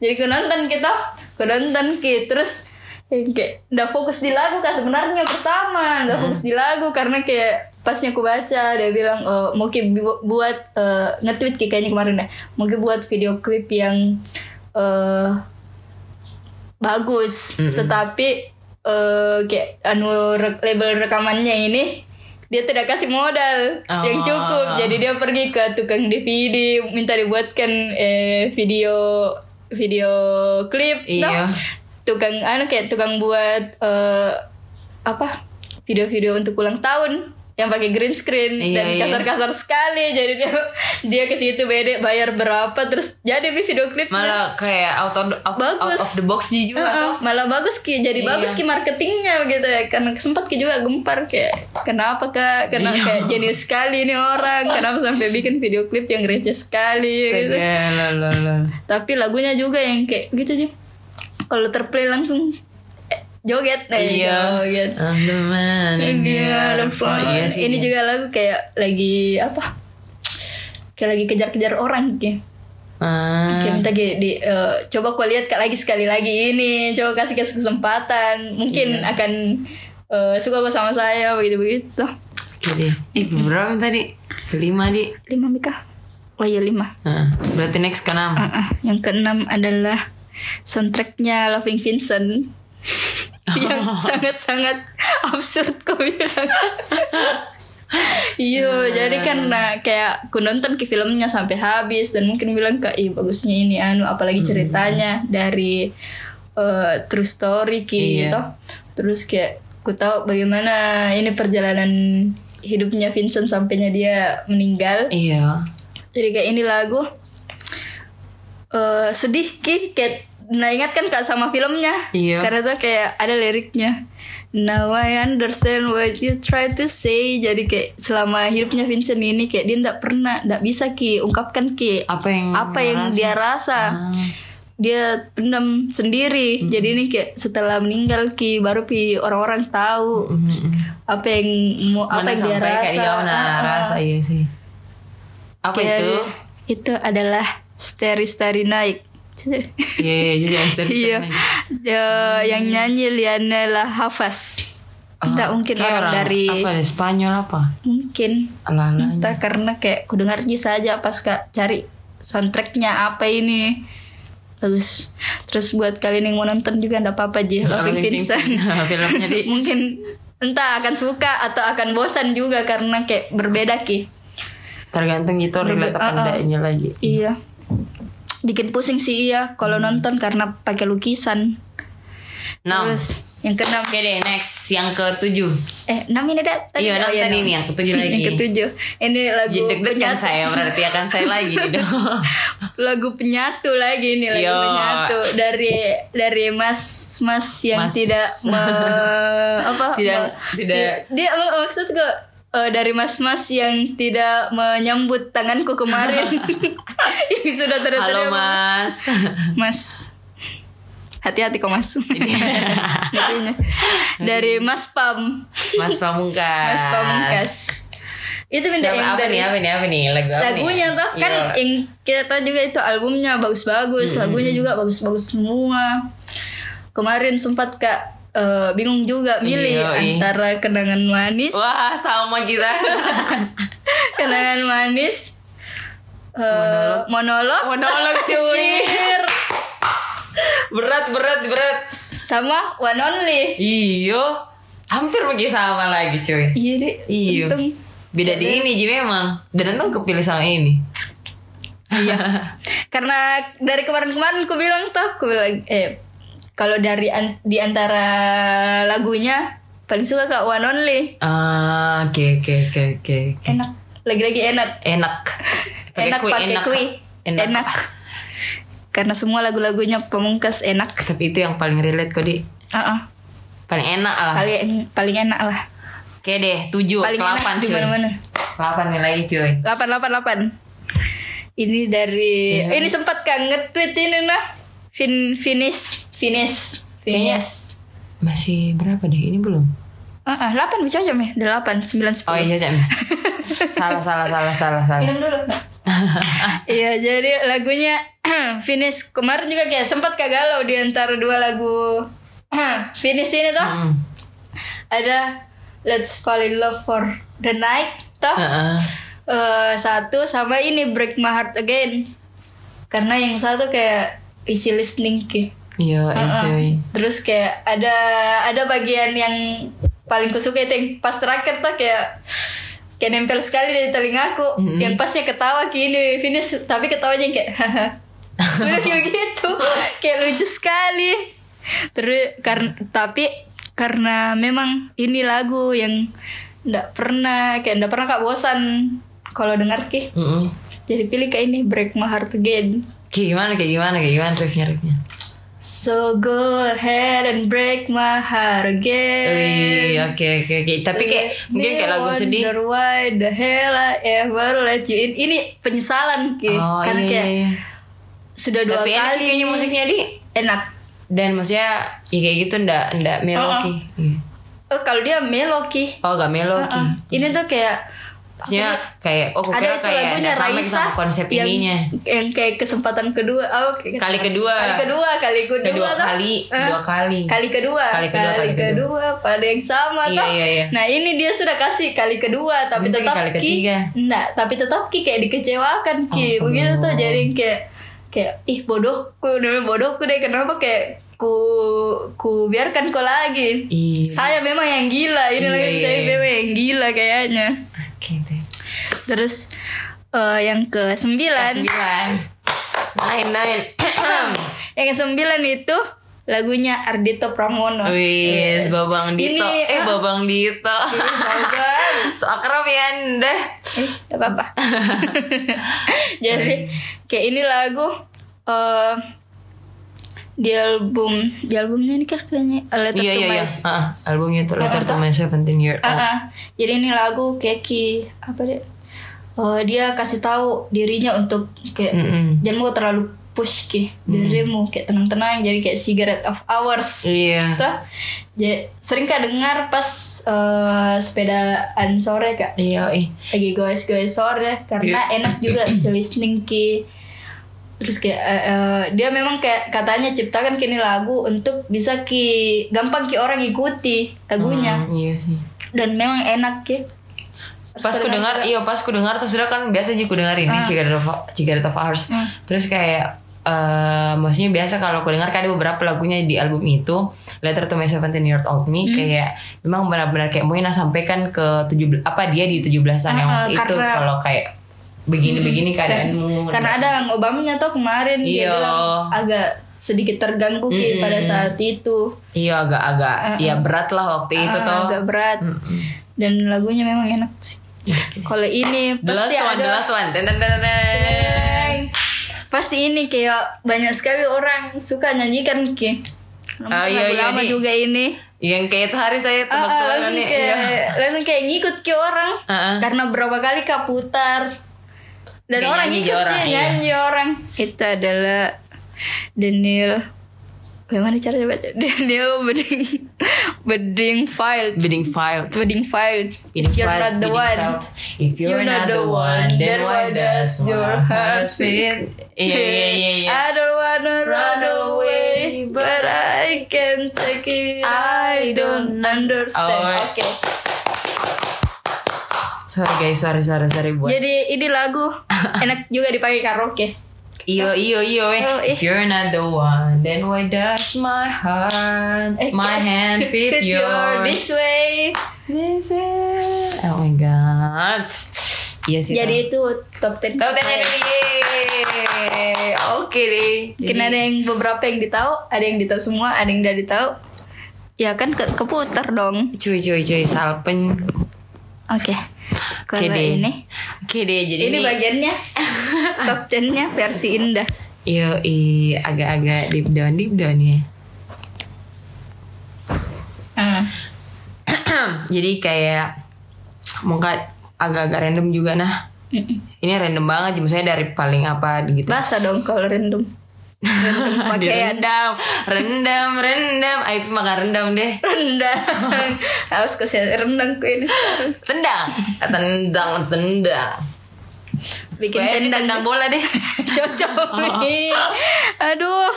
Speaker 2: Jadi ku nonton kita, ku nonton ki terus yang kayak udah fokus di lagu kan sebenarnya pertama udah fokus di lagu karena kayak pasnya aku baca dia bilang "Eh, mau ki bu- buat eh, nge-tweet Ki kayaknya kemarin deh mau ki buat video klip yang eh, bagus
Speaker 3: Mm-hmm.
Speaker 2: tetapi eh kayak anu re- label rekamannya ini dia tidak kasih modal
Speaker 3: Oh.
Speaker 2: yang cukup jadi dia pergi ke tukang DVD minta dibuatkan eh, video video klip
Speaker 3: Iya.
Speaker 2: tukang anu kayak tukang buat eh, apa video-video untuk ulang tahun yang pakai green screen
Speaker 3: Iya,
Speaker 2: dan
Speaker 3: iya.
Speaker 2: kasar-kasar sekali jadi dia dia ke situ bede bayar berapa terus jadi di video klip
Speaker 3: Malah kayak out of, out, out
Speaker 2: Bagus.
Speaker 3: of the box juga tuh.
Speaker 2: Heeh, malah bagus ki jadi
Speaker 3: Iya.
Speaker 2: bagus ki marketingnya gitu ya karena sempat ki juga gempar kayak kenapa kak kenapa
Speaker 3: Iya.
Speaker 2: kayak jenius sekali ini orang kenapa sampai bikin video klip yang receh
Speaker 3: Iya,
Speaker 2: sekali gitu tapi lagunya juga yang kayak gitu sih kalau terplay langsung eh, joget eh,
Speaker 3: Iya.
Speaker 2: joget
Speaker 3: I'm the man in the
Speaker 2: Iya,
Speaker 3: other
Speaker 2: lupa.
Speaker 3: phone. Iya sih.
Speaker 2: ini juga lagu kayak lagi apa kayak lagi kejar-kejar orang gitu
Speaker 3: Ah.
Speaker 2: Kayak minta kayak di, eh, coba kau lihat Kak, lagi sekali lagi ini, coba kasih kasih kesempatan, mungkin akan eh, suka kau sama saya begitu begitu.
Speaker 3: Jadi, ih, berapa tadi? Lima di.
Speaker 2: Lima Mika, oh iya lima.
Speaker 3: Ah, berarti next ke enam.
Speaker 2: Ah, ah. Yang keenam adalah soundtracknya Loving Vincent yang sangat-sangat absurd kau bilang. Iya, jadi karena kayak ku nonton ke filmnya sampai habis dan mungkin bilang ke ih bagusnya ini anu apalagi ceritanya dari eh, true story
Speaker 3: Iya.
Speaker 2: ki, toh. Terus kayak ku tahu bagaimana ini perjalanan hidupnya Vincent sampainya dia meninggal.
Speaker 3: Iya.
Speaker 2: Jadi kayak ini lagu eh sedih ki kayak nah ingat kan kak sama filmnya
Speaker 3: Iya.
Speaker 2: karena tuh kayak ada liriknya Now I understand what you try to say Jadi kayak selama hidupnya Vincent ini Kayak dia ndak pernah Ndak bisa Ki Ungkapkan Ki
Speaker 3: Apa yang
Speaker 2: Apa
Speaker 3: merasa?
Speaker 2: yang dia rasa
Speaker 3: Oh, Ah. Hmm.
Speaker 2: Dia pendam sendiri Jadi ini kayak setelah meninggal Ki Baru Pi orang-orang tahu
Speaker 3: Mm-mm.
Speaker 2: Apa yang mau Apa
Speaker 3: Mana
Speaker 2: yang dia
Speaker 3: sampai
Speaker 2: rasa
Speaker 3: kayak dia mana
Speaker 2: Ah, ah.
Speaker 3: rasa iya sih. Apa
Speaker 2: Kayak
Speaker 3: itu?
Speaker 2: dia- Itu adalah Steri Steri Naik
Speaker 3: Iya, iya, jadi Einstein.
Speaker 2: Iya Ya, Yang nyanyi Lianela Hafas Entah
Speaker 3: Ah,
Speaker 2: mungkin
Speaker 3: Kayak
Speaker 2: orang, dari
Speaker 3: apa dari Spanyol apa?
Speaker 2: Mungkin
Speaker 3: Lala.
Speaker 2: Entah karena kayak kudengarnya saja pas kak cari soundtracknya apa ini Bagus Terus buat kalian yang mau nonton juga ndak apa-apa Ji Loving Vincent
Speaker 3: Nah, Filmnya di
Speaker 2: Mungkin entah akan suka atau akan bosan juga karena kayak berbeda Ki
Speaker 3: tergantung itu relate apa
Speaker 2: Ah, ah.
Speaker 3: enggaknya lagi.
Speaker 2: Iya. Bikin pusing sih iya kalau
Speaker 3: Hmm.
Speaker 2: nonton karena pakai lukisan.
Speaker 3: Nah,
Speaker 2: Terus yang keenam
Speaker 3: oke deh next yang ketujuh.
Speaker 2: eh enam ini dah
Speaker 3: Iya, enam tadi
Speaker 2: enam.
Speaker 3: nih, yang ketujuh lagi.
Speaker 2: yang ketujuh. Ini lagu
Speaker 3: Jadi Ya, deg-degan kan
Speaker 2: penyatu.
Speaker 3: saya berarti akan saya lagi nih dong.
Speaker 2: Lagu penyatu lagi ini lagu
Speaker 3: Yo.
Speaker 2: penyatu dari dari Mas Mas yang
Speaker 3: Mas.
Speaker 2: tidak me- apa
Speaker 3: Tidak-
Speaker 2: me-
Speaker 3: tidak-
Speaker 2: dia, dia maksud gue eh, dari mas-mas yang tidak menyambut tanganku kemarin yang sudah terus
Speaker 3: Halo Mas.
Speaker 2: Mas Hati-hati kok mas
Speaker 3: Iya.
Speaker 2: Ngertinya. Dari Mas Pam
Speaker 3: Mas Pamungkas.
Speaker 2: Mas Pamungkas Itu
Speaker 3: Siapa-
Speaker 2: minta yang
Speaker 3: apa
Speaker 2: dari
Speaker 3: nih apa nih apa nih lagu apa nih?
Speaker 2: Lagunya toh kan
Speaker 3: Iya. Hmm.
Speaker 2: yang kita tahu juga itu albumnya bagus-bagus Lagunya juga bagus-bagus semua Kemarin sempat kak eh, bingung juga milih
Speaker 3: Iya, iya.
Speaker 2: antara kenangan manis
Speaker 3: Wah sama kita
Speaker 2: Kenangan manis eh, monolog,
Speaker 3: Monolog, cuy.
Speaker 2: Cheer.
Speaker 3: Berat berat berat
Speaker 2: sama one only
Speaker 3: Iyo Hampir pergi sama lagi cuy
Speaker 2: Iya deh.
Speaker 3: Iya.
Speaker 2: Untung.
Speaker 3: Beda di ini Ji memang
Speaker 2: Iya.
Speaker 3: Dan untung kepilih sama ini
Speaker 2: Karena dari kemarin-kemarin aku bilang tuh, aku bilang eh kalau dari an- di antara lagunya paling suka Kak One Only.
Speaker 3: Ah Oke oke oke oke
Speaker 2: Enak. Lagi-lagi enak.
Speaker 3: Enak
Speaker 2: enak pakai kui.
Speaker 3: Enak.
Speaker 2: enak. Karena semua lagu-lagunya Pamungkas enak.
Speaker 3: Tapi itu yang paling relate kok di
Speaker 2: Heeh.
Speaker 3: Paling enak lah
Speaker 2: Paling paling enak lah.
Speaker 3: Oke deh 7
Speaker 2: Paling
Speaker 3: ke 8
Speaker 2: enak di
Speaker 3: cuy
Speaker 2: mana-mana.
Speaker 3: 8 nilai cuy
Speaker 2: 888. Ini dari
Speaker 3: Iya.
Speaker 2: ini sempat kan nge-tweet ini nah. Fin finish finish finish.
Speaker 3: Masih berapa deh ini belum
Speaker 2: Ah, ah, 8 bisa aja meh. 8 9 10.
Speaker 3: Oh iya Cem Salah salah salah salah salah
Speaker 2: Minum dulu. Iya jadi lagunya finish kemarin juga kayak sempat kagalau di antara dua lagu finish ini toh
Speaker 3: Hmm.
Speaker 2: ada Let's Fall in Love for the Night toh
Speaker 3: Heeh.
Speaker 2: Eh, satu sama ini Break My Heart Again karena yang satu kayak easy listening gitu. ke
Speaker 3: Iya cuy
Speaker 2: terus kayak ada ada bagian yang paling kusuka itu yang pas terakhir tuh kayak kayak nempel sekali dari telingaku yang pasnya ketawa gini finish tapi ketawanya yang kayak udah kayak gitu kayak lucu sekali terus karena tapi karena memang ini lagu yang ndak pernah kayak ndak pernah kak bosan kalau dengar ki
Speaker 3: Mm-mm.
Speaker 2: jadi pilih kayak ini break my heart again
Speaker 3: Kayak gimana kayak gimana kayak gimana riffnya riffnya
Speaker 2: So go ahead and break my heart
Speaker 3: Wih,
Speaker 2: again.
Speaker 3: oke oke oke. Iya. Tapi kayak
Speaker 2: Let
Speaker 3: mungkin
Speaker 2: me
Speaker 3: kayak lagu sedih.
Speaker 2: Eh, Wonder why the hell I ever let you in. Ini penyesalan ki,
Speaker 3: Oh iya,
Speaker 2: karena kan kayak
Speaker 3: iya.
Speaker 2: sudah dua
Speaker 3: Tapi enak
Speaker 2: kali
Speaker 3: kayaknya musiknya di.
Speaker 2: enak.
Speaker 3: Dan maksudnya ya kayak gitu ndak ndak meloki. Iya.
Speaker 2: Oh kalau dia meloki,
Speaker 3: Oh gak meloki.
Speaker 2: ini tuh kayak ya?
Speaker 3: Maksudnya kayak oh
Speaker 2: ada
Speaker 3: kukira
Speaker 2: itu
Speaker 3: kayak
Speaker 2: lagunya
Speaker 3: nggak sama
Speaker 2: Raisa
Speaker 3: sama konsep
Speaker 2: yang
Speaker 3: ininya.
Speaker 2: yang kayak kesempatan kedua, oh kayak
Speaker 3: Kali kedua.
Speaker 2: kali kedua, kali kedua,
Speaker 3: Kedua
Speaker 2: tuh.
Speaker 3: kali,
Speaker 2: Eh?
Speaker 3: dua kali.
Speaker 2: kali kedua
Speaker 3: Kali kedua, kali
Speaker 2: kedua, pada yang sama
Speaker 3: Iya,
Speaker 2: toh.
Speaker 3: iya, iya.
Speaker 2: nah ini dia sudah kasih kali kedua tapi
Speaker 3: Mungkin
Speaker 2: tetap
Speaker 3: kali
Speaker 2: ki
Speaker 3: ketiga.
Speaker 2: enggak tapi tetap ki kayak dikecewakan ki
Speaker 3: Oh.
Speaker 2: begitu tuh jadi yang kayak kayak ih bodohku namanya bodohku deh kenapa kayak ku ku biarkan kau lagi
Speaker 3: Iya.
Speaker 2: saya memang yang gila ini
Speaker 3: Iya,
Speaker 2: lagi
Speaker 3: iya,
Speaker 2: saya
Speaker 3: iya.
Speaker 2: memang yang gila kayaknya
Speaker 3: Oke deh.
Speaker 2: terus eh, yang ke sembilan
Speaker 3: Sembilan. Nine nine.
Speaker 2: yang ke sembilan itu lagunya Ardito Pramono
Speaker 3: Wis, Babang Dito.
Speaker 2: Ini,
Speaker 3: eh,
Speaker 2: ah.
Speaker 3: Babang Dito.
Speaker 2: Babang.
Speaker 3: so akrab ya anda.
Speaker 2: Eh, gak apa-apa. Jadi kayak ini lagu eh di album, di albumnya ini kah kayaknya A Letter
Speaker 3: Iya,
Speaker 2: to
Speaker 3: iya,
Speaker 2: My
Speaker 3: iya. Ah, Albumnya tuh Letter to
Speaker 2: atau-
Speaker 3: My 17 Year
Speaker 2: Ah,
Speaker 3: Old.
Speaker 2: ah. Jadi ini lagu Keki apa dia? Eh, dia kasih tahu dirinya untuk kayak
Speaker 3: Mm-mm.
Speaker 2: jangan mau terlalu push ki
Speaker 3: Hmm.
Speaker 2: dirimu kayak tenang-tenang jadi kayak cigarette of hours
Speaker 3: Iya.
Speaker 2: Tuh. Ja- sering kak dengar pas eh, sepedaan sore kak
Speaker 3: Iya, ih.
Speaker 2: lagi goes-goes sore karena
Speaker 3: Iya.
Speaker 2: enak juga si listening ki terus kayak eh, eh, dia memang kayak katanya ciptakan kini lagu untuk bisa ki gampang ki orang ikuti lagunya
Speaker 3: Hmm, iya sih.
Speaker 2: dan memang enak ki Terus
Speaker 3: Pas ku
Speaker 2: kedengar-
Speaker 3: dengar, iya pas ku dengar terus udah kan biasa aja ku dengar ini
Speaker 2: Ah.
Speaker 3: Cigarette of, Cigarette of Hours. Terus kayak eh maksudnya biasa kalau ku dengar kan ada beberapa lagunya di album itu Letter to My 17 Year Old
Speaker 2: Hmm.
Speaker 3: Me kayak memang benar-benar kayak Moina sampaikan ke 17 apa dia di 17-an yang
Speaker 2: Ah,
Speaker 3: waktu
Speaker 2: ah,
Speaker 3: itu
Speaker 2: karena- Hmm,
Speaker 3: kalau kayak begini-begini keadaanmu.
Speaker 2: karena ada obamnya tuh kemarin
Speaker 3: Iya.
Speaker 2: dia bilang agak sedikit terganggu ki pada saat itu
Speaker 3: Iya agak-agak ya berat lah waktu itu Mm.
Speaker 2: Ah,
Speaker 3: tuh.
Speaker 2: agak berat dan lagunya memang enak sih kalau ini
Speaker 3: The last
Speaker 2: pasti
Speaker 3: one,
Speaker 2: ada
Speaker 3: the last one. Ten, ten, ten, ten, ten.
Speaker 2: Eng. Pasti ini kayak banyak sekali orang suka nyanyikan ki.
Speaker 3: Ah, iya, iya,
Speaker 2: lama
Speaker 3: nih.
Speaker 2: juga ini.
Speaker 3: Yang kayak hari saya
Speaker 2: Ah, ah,
Speaker 3: tebak-tebakan
Speaker 2: langsung
Speaker 3: nih.
Speaker 2: kayak
Speaker 3: Iya.
Speaker 2: langsung kayak ngikut ke orang.
Speaker 3: Ah, ah.
Speaker 2: Karena berapa kali kaputar. Dan
Speaker 3: Kayak
Speaker 2: orang
Speaker 3: nyanyi
Speaker 2: ngikut
Speaker 3: orang,
Speaker 2: dia
Speaker 3: iya.
Speaker 2: nyanyi orang. Itu adalah Daniel Bagaimana caranya baca? Daniel Beding Beding File
Speaker 3: Bidding file.
Speaker 2: Beding File
Speaker 3: Bidding
Speaker 2: If you're
Speaker 3: file,
Speaker 2: not the
Speaker 3: bidding
Speaker 2: one
Speaker 3: file. If you're not the one, then why does your heart beat? Iya iya iya. iya.
Speaker 2: I don't wanna run away, but I can't take it. I don't
Speaker 3: Oh.
Speaker 2: understand. Oke.
Speaker 3: Sorry guys, sorry sorry sorry buat.
Speaker 2: Jadi ini lagu enak juga dipakai karaoke.
Speaker 3: Iyo iyo iyo eh.
Speaker 2: Oh, eh.
Speaker 3: If you're not the one, then why does my heart,
Speaker 2: Eh,
Speaker 3: my hand beat
Speaker 2: Fit your
Speaker 3: yours?
Speaker 2: this way.
Speaker 3: This is- Oh my god. Iya sih.
Speaker 2: Jadi itu top 10.
Speaker 3: Tau tanya dulu yeay. Oke deh.
Speaker 2: Mungkin ada yang beberapa yang ditahu, ada yang ditahu semua, ada yang tidak ditahu. Ya kan ke keputar dong.
Speaker 3: Cuy cuy cuy salpen
Speaker 2: Oke. Kalau
Speaker 3: Oke deh.
Speaker 2: ini
Speaker 3: Oke deh, jadi
Speaker 2: ini
Speaker 3: ini
Speaker 2: bagiannya top 10-nya versi Indah.
Speaker 3: Yoi, agak-agak deep down deep down ya.
Speaker 2: Ah,
Speaker 3: jadi kayak mungkin agak-agak random juga nah.
Speaker 2: mm-mm.
Speaker 3: Ini random banget sih misalnya dari paling apa gitu.
Speaker 2: Basah dong kalau random. Random pakaian
Speaker 3: rendam, rendam, rendam. Ayo itu makan rendam deh.
Speaker 2: rendang. Harus ke rendang ku ini. sekarang.
Speaker 3: Tendang, tendang, tendang.
Speaker 2: Bikin
Speaker 3: Gue
Speaker 2: tendang
Speaker 3: tendang bola deh.
Speaker 2: cocok nih. Aduh.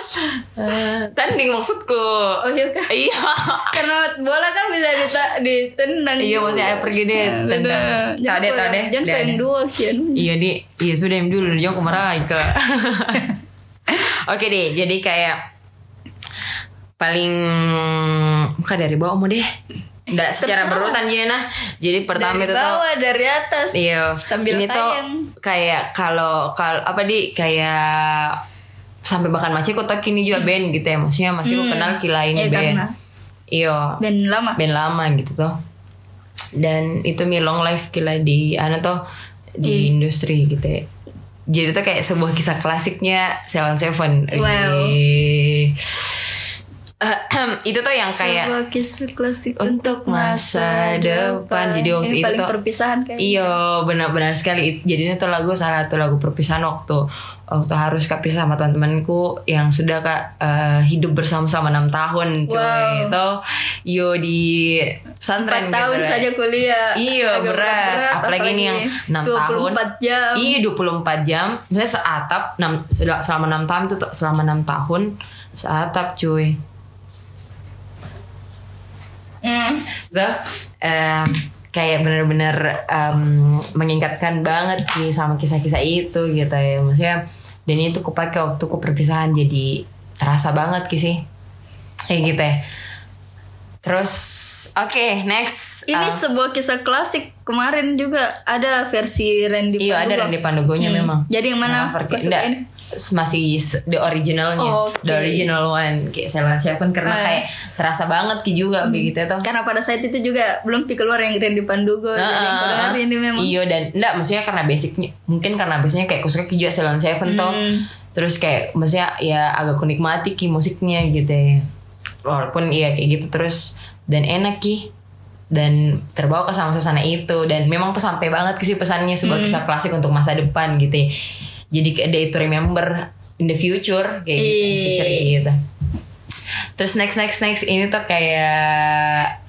Speaker 3: Tanding maksudku.
Speaker 2: Oh iya kah?
Speaker 3: Iya.
Speaker 2: Karena bola kan bisa dita- ditendang.
Speaker 3: Iya maksudnya ayo pergi deh tendang. Tahu deh, tahu deh.
Speaker 2: Jangan
Speaker 3: Dah,
Speaker 2: kayak
Speaker 3: dah.
Speaker 2: dua sih. Anu.
Speaker 3: Iya di, iya sudah yang dulu jauh kemarin ke. Oke deh, jadi kayak paling bukan dari bawah mau deh. Nggak secara
Speaker 2: terserah.
Speaker 3: berurutan jadi nah. Jadi pertama
Speaker 2: Dari
Speaker 3: itu tuh
Speaker 2: bawah dari atas.
Speaker 3: Iya.
Speaker 2: Sambil
Speaker 3: ini tuh
Speaker 2: tayang.
Speaker 3: kayak kalau kalau apa di kayak sampai bahkan Maciko tuh kini juga band gitu ya maksudnya Maciko kenal Kila ini
Speaker 2: Iya,
Speaker 3: band.
Speaker 2: karena-
Speaker 3: Iya,
Speaker 2: Band lama.
Speaker 3: band lama gitu tuh dan itu mi long life gila di anu tuh
Speaker 2: Iya.
Speaker 3: di industri gitu ya jadi tuh kayak sebuah kisah klasiknya Seven Seven
Speaker 2: Wow.
Speaker 3: Wih. itu tuh yang kayak
Speaker 2: Sebuah kisah klasik
Speaker 3: untuk masa depan. Jadi waktu
Speaker 2: Ini
Speaker 3: itu
Speaker 2: paling
Speaker 3: tuh-
Speaker 2: perpisahan kan.
Speaker 3: Iya benar-benar sekali Jadinya tuh lagu salah satu lagu perpisahan waktu Waktu harus kapisah sama teman-temanku Yang sudah kak eh, hidup bersama-sama 6 tahun cuy
Speaker 2: Wow.
Speaker 3: Itu yo di pesantren
Speaker 2: 4 tahun
Speaker 3: gitu,
Speaker 2: saja kuliah.
Speaker 3: Iya
Speaker 2: Agak
Speaker 3: berat, apalagi, ini yang 6 tahun
Speaker 2: 24 jam.
Speaker 3: Iya 24 jam Misalnya seatap enam- sudah selama 6 tahun itu tuh selama 6 tahun Seatap cuy
Speaker 2: Mm.
Speaker 3: Tuh em, kayak bener-bener em, mengingatkan banget sih sama kisah-kisah itu gitu ya maksudnya dan itu kupake waktu ku perpisahan jadi terasa banget ki sih kayak gitu ya terus oke next eh,
Speaker 2: Ini
Speaker 3: Em,
Speaker 2: sebuah kisah klasik kemarin juga ada versi Randy
Speaker 3: iya ada
Speaker 2: Pandugo.
Speaker 3: Randy Pandugonya
Speaker 2: Hmm.
Speaker 3: memang
Speaker 2: Jadi yang
Speaker 3: Nah,
Speaker 2: mana?
Speaker 3: Farke-
Speaker 2: Kau suka
Speaker 3: enggak,
Speaker 2: ini?
Speaker 3: masih s- the originalnya
Speaker 2: Oh, oke.
Speaker 3: the original one kayak Ceylon Seven karena
Speaker 2: Eh.
Speaker 3: kayak terasa banget ki juga
Speaker 2: Hmm.
Speaker 3: begitu tuh
Speaker 2: Karena pada saat itu juga belum keluar yang Randy Pandugo. jadi yang
Speaker 3: Heeh.
Speaker 2: keluar ini
Speaker 3: Ah,
Speaker 2: memang.
Speaker 3: Iya dan enggak maksudnya karena basicnya mungkin karena basicnya kayak kusuka juga Ceylon Seven toh.
Speaker 2: Hmm.
Speaker 3: Terus kayak maksudnya ya agak kunikmati ki musiknya gitu ya. Walaupun iya kayak gitu terus dan enak ki dan terbawa ke sama suasana itu dan memang tuh sampai banget sih pesannya sebuah
Speaker 2: Hmm.
Speaker 3: kisah klasik untuk masa depan gitu. Ya. Jadi kayak day to remember in the future kayak gitu,
Speaker 2: Ih.
Speaker 3: future kayak gitu. Terus next next next ini tuh kayak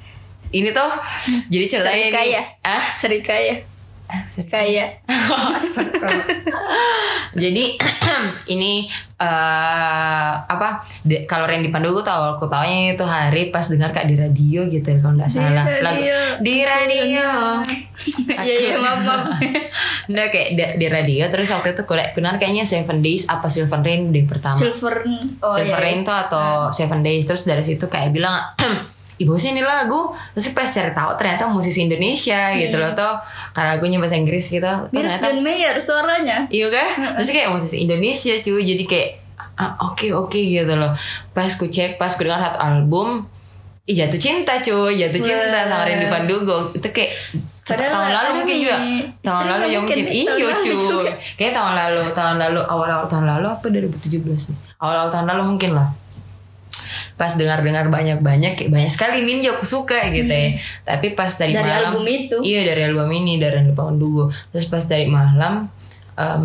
Speaker 3: ini tuh
Speaker 2: Hmm.
Speaker 3: jadi ceritanya ini-
Speaker 2: Serikaya.
Speaker 3: ah
Speaker 2: Serikaya. Ah, Kaya.
Speaker 3: Jadi ini eh, apa? de- kalau Randy Pandugo tuh awal ku taunya itu hari pas dengar kak di radio gitu kalau nggak salah. Lagu-
Speaker 2: radio.
Speaker 3: di radio.
Speaker 2: Iya iya maaf maaf.
Speaker 3: Nggak kayak da- di radio terus waktu itu kule- kenal kayaknya Seven Days apa Silver Rain deh pertama.
Speaker 2: Silver. Oh
Speaker 3: Silver
Speaker 2: iya.
Speaker 3: Rain tuh atau Seven Days terus dari situ kayak bilang ibu sih ini lagu terus pas cari tahu ternyata musisi Indonesia gitu loh tuh karena lagunya bahasa Inggris gitu Terus
Speaker 2: Iya. Mirip
Speaker 3: ternyata
Speaker 2: John Mayer suaranya.
Speaker 3: Iya kan? Terus kayak musisi Indonesia cuy Jadi kayak ah, oke oke gitu loh Pas ku cek Pas ku dengar satu album Ih jatuh cinta cuy Jatuh cinta sama Randy Pandugo Itu kayak
Speaker 2: Padahal
Speaker 3: tahun lalu
Speaker 2: ada
Speaker 3: mungkin
Speaker 2: nih,
Speaker 3: juga tahun
Speaker 2: istrinya
Speaker 3: lalu ya
Speaker 2: mungkin
Speaker 3: mungkin
Speaker 2: nih, tahun
Speaker 3: iyo
Speaker 2: lalu
Speaker 3: cuy
Speaker 2: juga.
Speaker 3: kayak tahun lalu tahun lalu awal awal tahun lalu apa 2017 nih awal awal tahun lalu mungkin lah pas dengar dengar banyak banyak kayak banyak sekali ninja aku suka gitu ya tapi pas dari,
Speaker 2: Hmm. Dari
Speaker 3: malam
Speaker 2: album itu.
Speaker 3: Iya dari album ini dari Randy Pandugo. Terus pas dari malam em,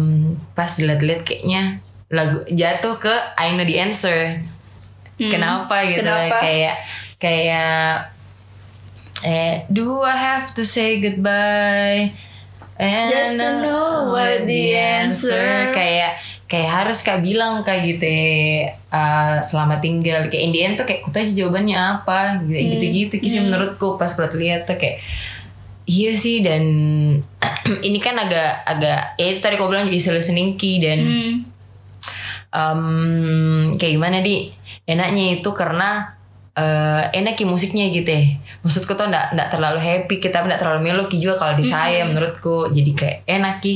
Speaker 3: pas dilihat-lihat kayaknya lagu jatuh ke I Know the Answer. Kenapa gitu
Speaker 2: Hmm. Kenapa?
Speaker 3: kayak kayak eh do I have to say goodbye? And
Speaker 2: Just to know what the answer.
Speaker 3: kayak kayak harus kak bilang kak gitu ya, eh, selamat tinggal kayak in the end tuh kayak kutu aja jawabannya apa gitu gitu gitu kisah menurutku pas kulihat lihat tuh kayak iya sih dan ini kan agak agak ya itu tadi kau bilang jadi listening key dan
Speaker 2: Hmm.
Speaker 3: Em, kayak gimana di enaknya itu karena eh, enak ki musiknya gitu ya maksudku tuh ndak ndak terlalu happy kita ndak terlalu melo ki juga kalau di saya menurutku jadi kayak enak ki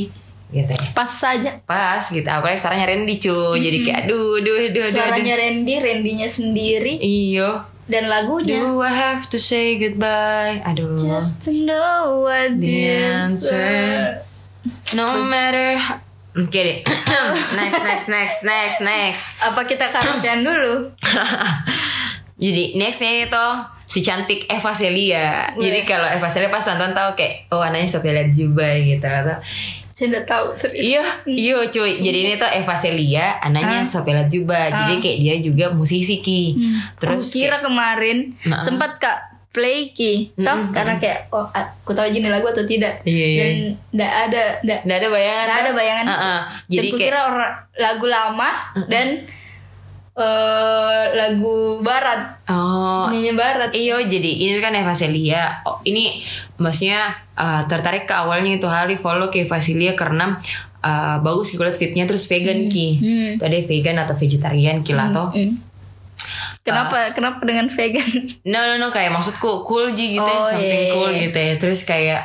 Speaker 3: gitu ya
Speaker 2: Pas saja.
Speaker 3: pas gitu apalagi suaranya Randy cuy jadi kayak aduh duh duh duh
Speaker 2: Suaranya Randy, Randynya sendiri.
Speaker 3: iyo
Speaker 2: dan lagunya
Speaker 3: Do I have to say goodbye? Aduh.
Speaker 2: Iya. Just to know what
Speaker 3: The
Speaker 2: the
Speaker 3: answer.
Speaker 2: answer.
Speaker 3: No matter. Oke deh. next, next, next, next, next.
Speaker 2: Apa kita karaokean dulu?
Speaker 3: Jadi nextnya itu si cantik Eva Celia.
Speaker 2: Weh.
Speaker 3: Jadi kalau Eva Celia pas nonton tahu kayak oh anaknya Sophia Latjuba gitu lah tuh.
Speaker 2: Saya udah tahu serius.
Speaker 3: Iya, iya cuy. Jadi ini tuh Eva Celia, anaknya
Speaker 2: Ah.
Speaker 3: Sophia Latjuba. Jadi kayak dia juga musisi ki. Terus
Speaker 2: Terus Hmm, kira kemarin
Speaker 3: Nah.
Speaker 2: sempat Kak play ki, toh karena kayak oh aku tahu aja ini lagu atau tidak.
Speaker 3: Iya, iya.
Speaker 2: Dan enggak ada enggak
Speaker 3: Nggak ada bayangan.
Speaker 2: Nggak ada
Speaker 3: tuh.
Speaker 2: bayangan.
Speaker 3: Heeh. Jadi
Speaker 2: Jadi dan
Speaker 3: kayak
Speaker 2: kira orang lagu lama dan eh, lagu barat,
Speaker 3: oh
Speaker 2: nyanyi barat.
Speaker 3: Iya jadi ini kan Eva Celia Oh, Ini maksudnya eh, tertarik ke awalnya itu hari follow ke Eva Celia Karena eh, bagus kulit fitnya terus vegan ki
Speaker 2: Hmm.
Speaker 3: Tuh ada vegan atau vegetarian ki lah toh
Speaker 2: Mm.
Speaker 3: Ah.
Speaker 2: Kenapa kenapa dengan vegan?
Speaker 3: No no no kayak maksudku cool ji gitu ya,
Speaker 2: Oh,
Speaker 3: Something
Speaker 2: iya,
Speaker 3: cool
Speaker 2: iya.
Speaker 3: gitu ya Terus kayak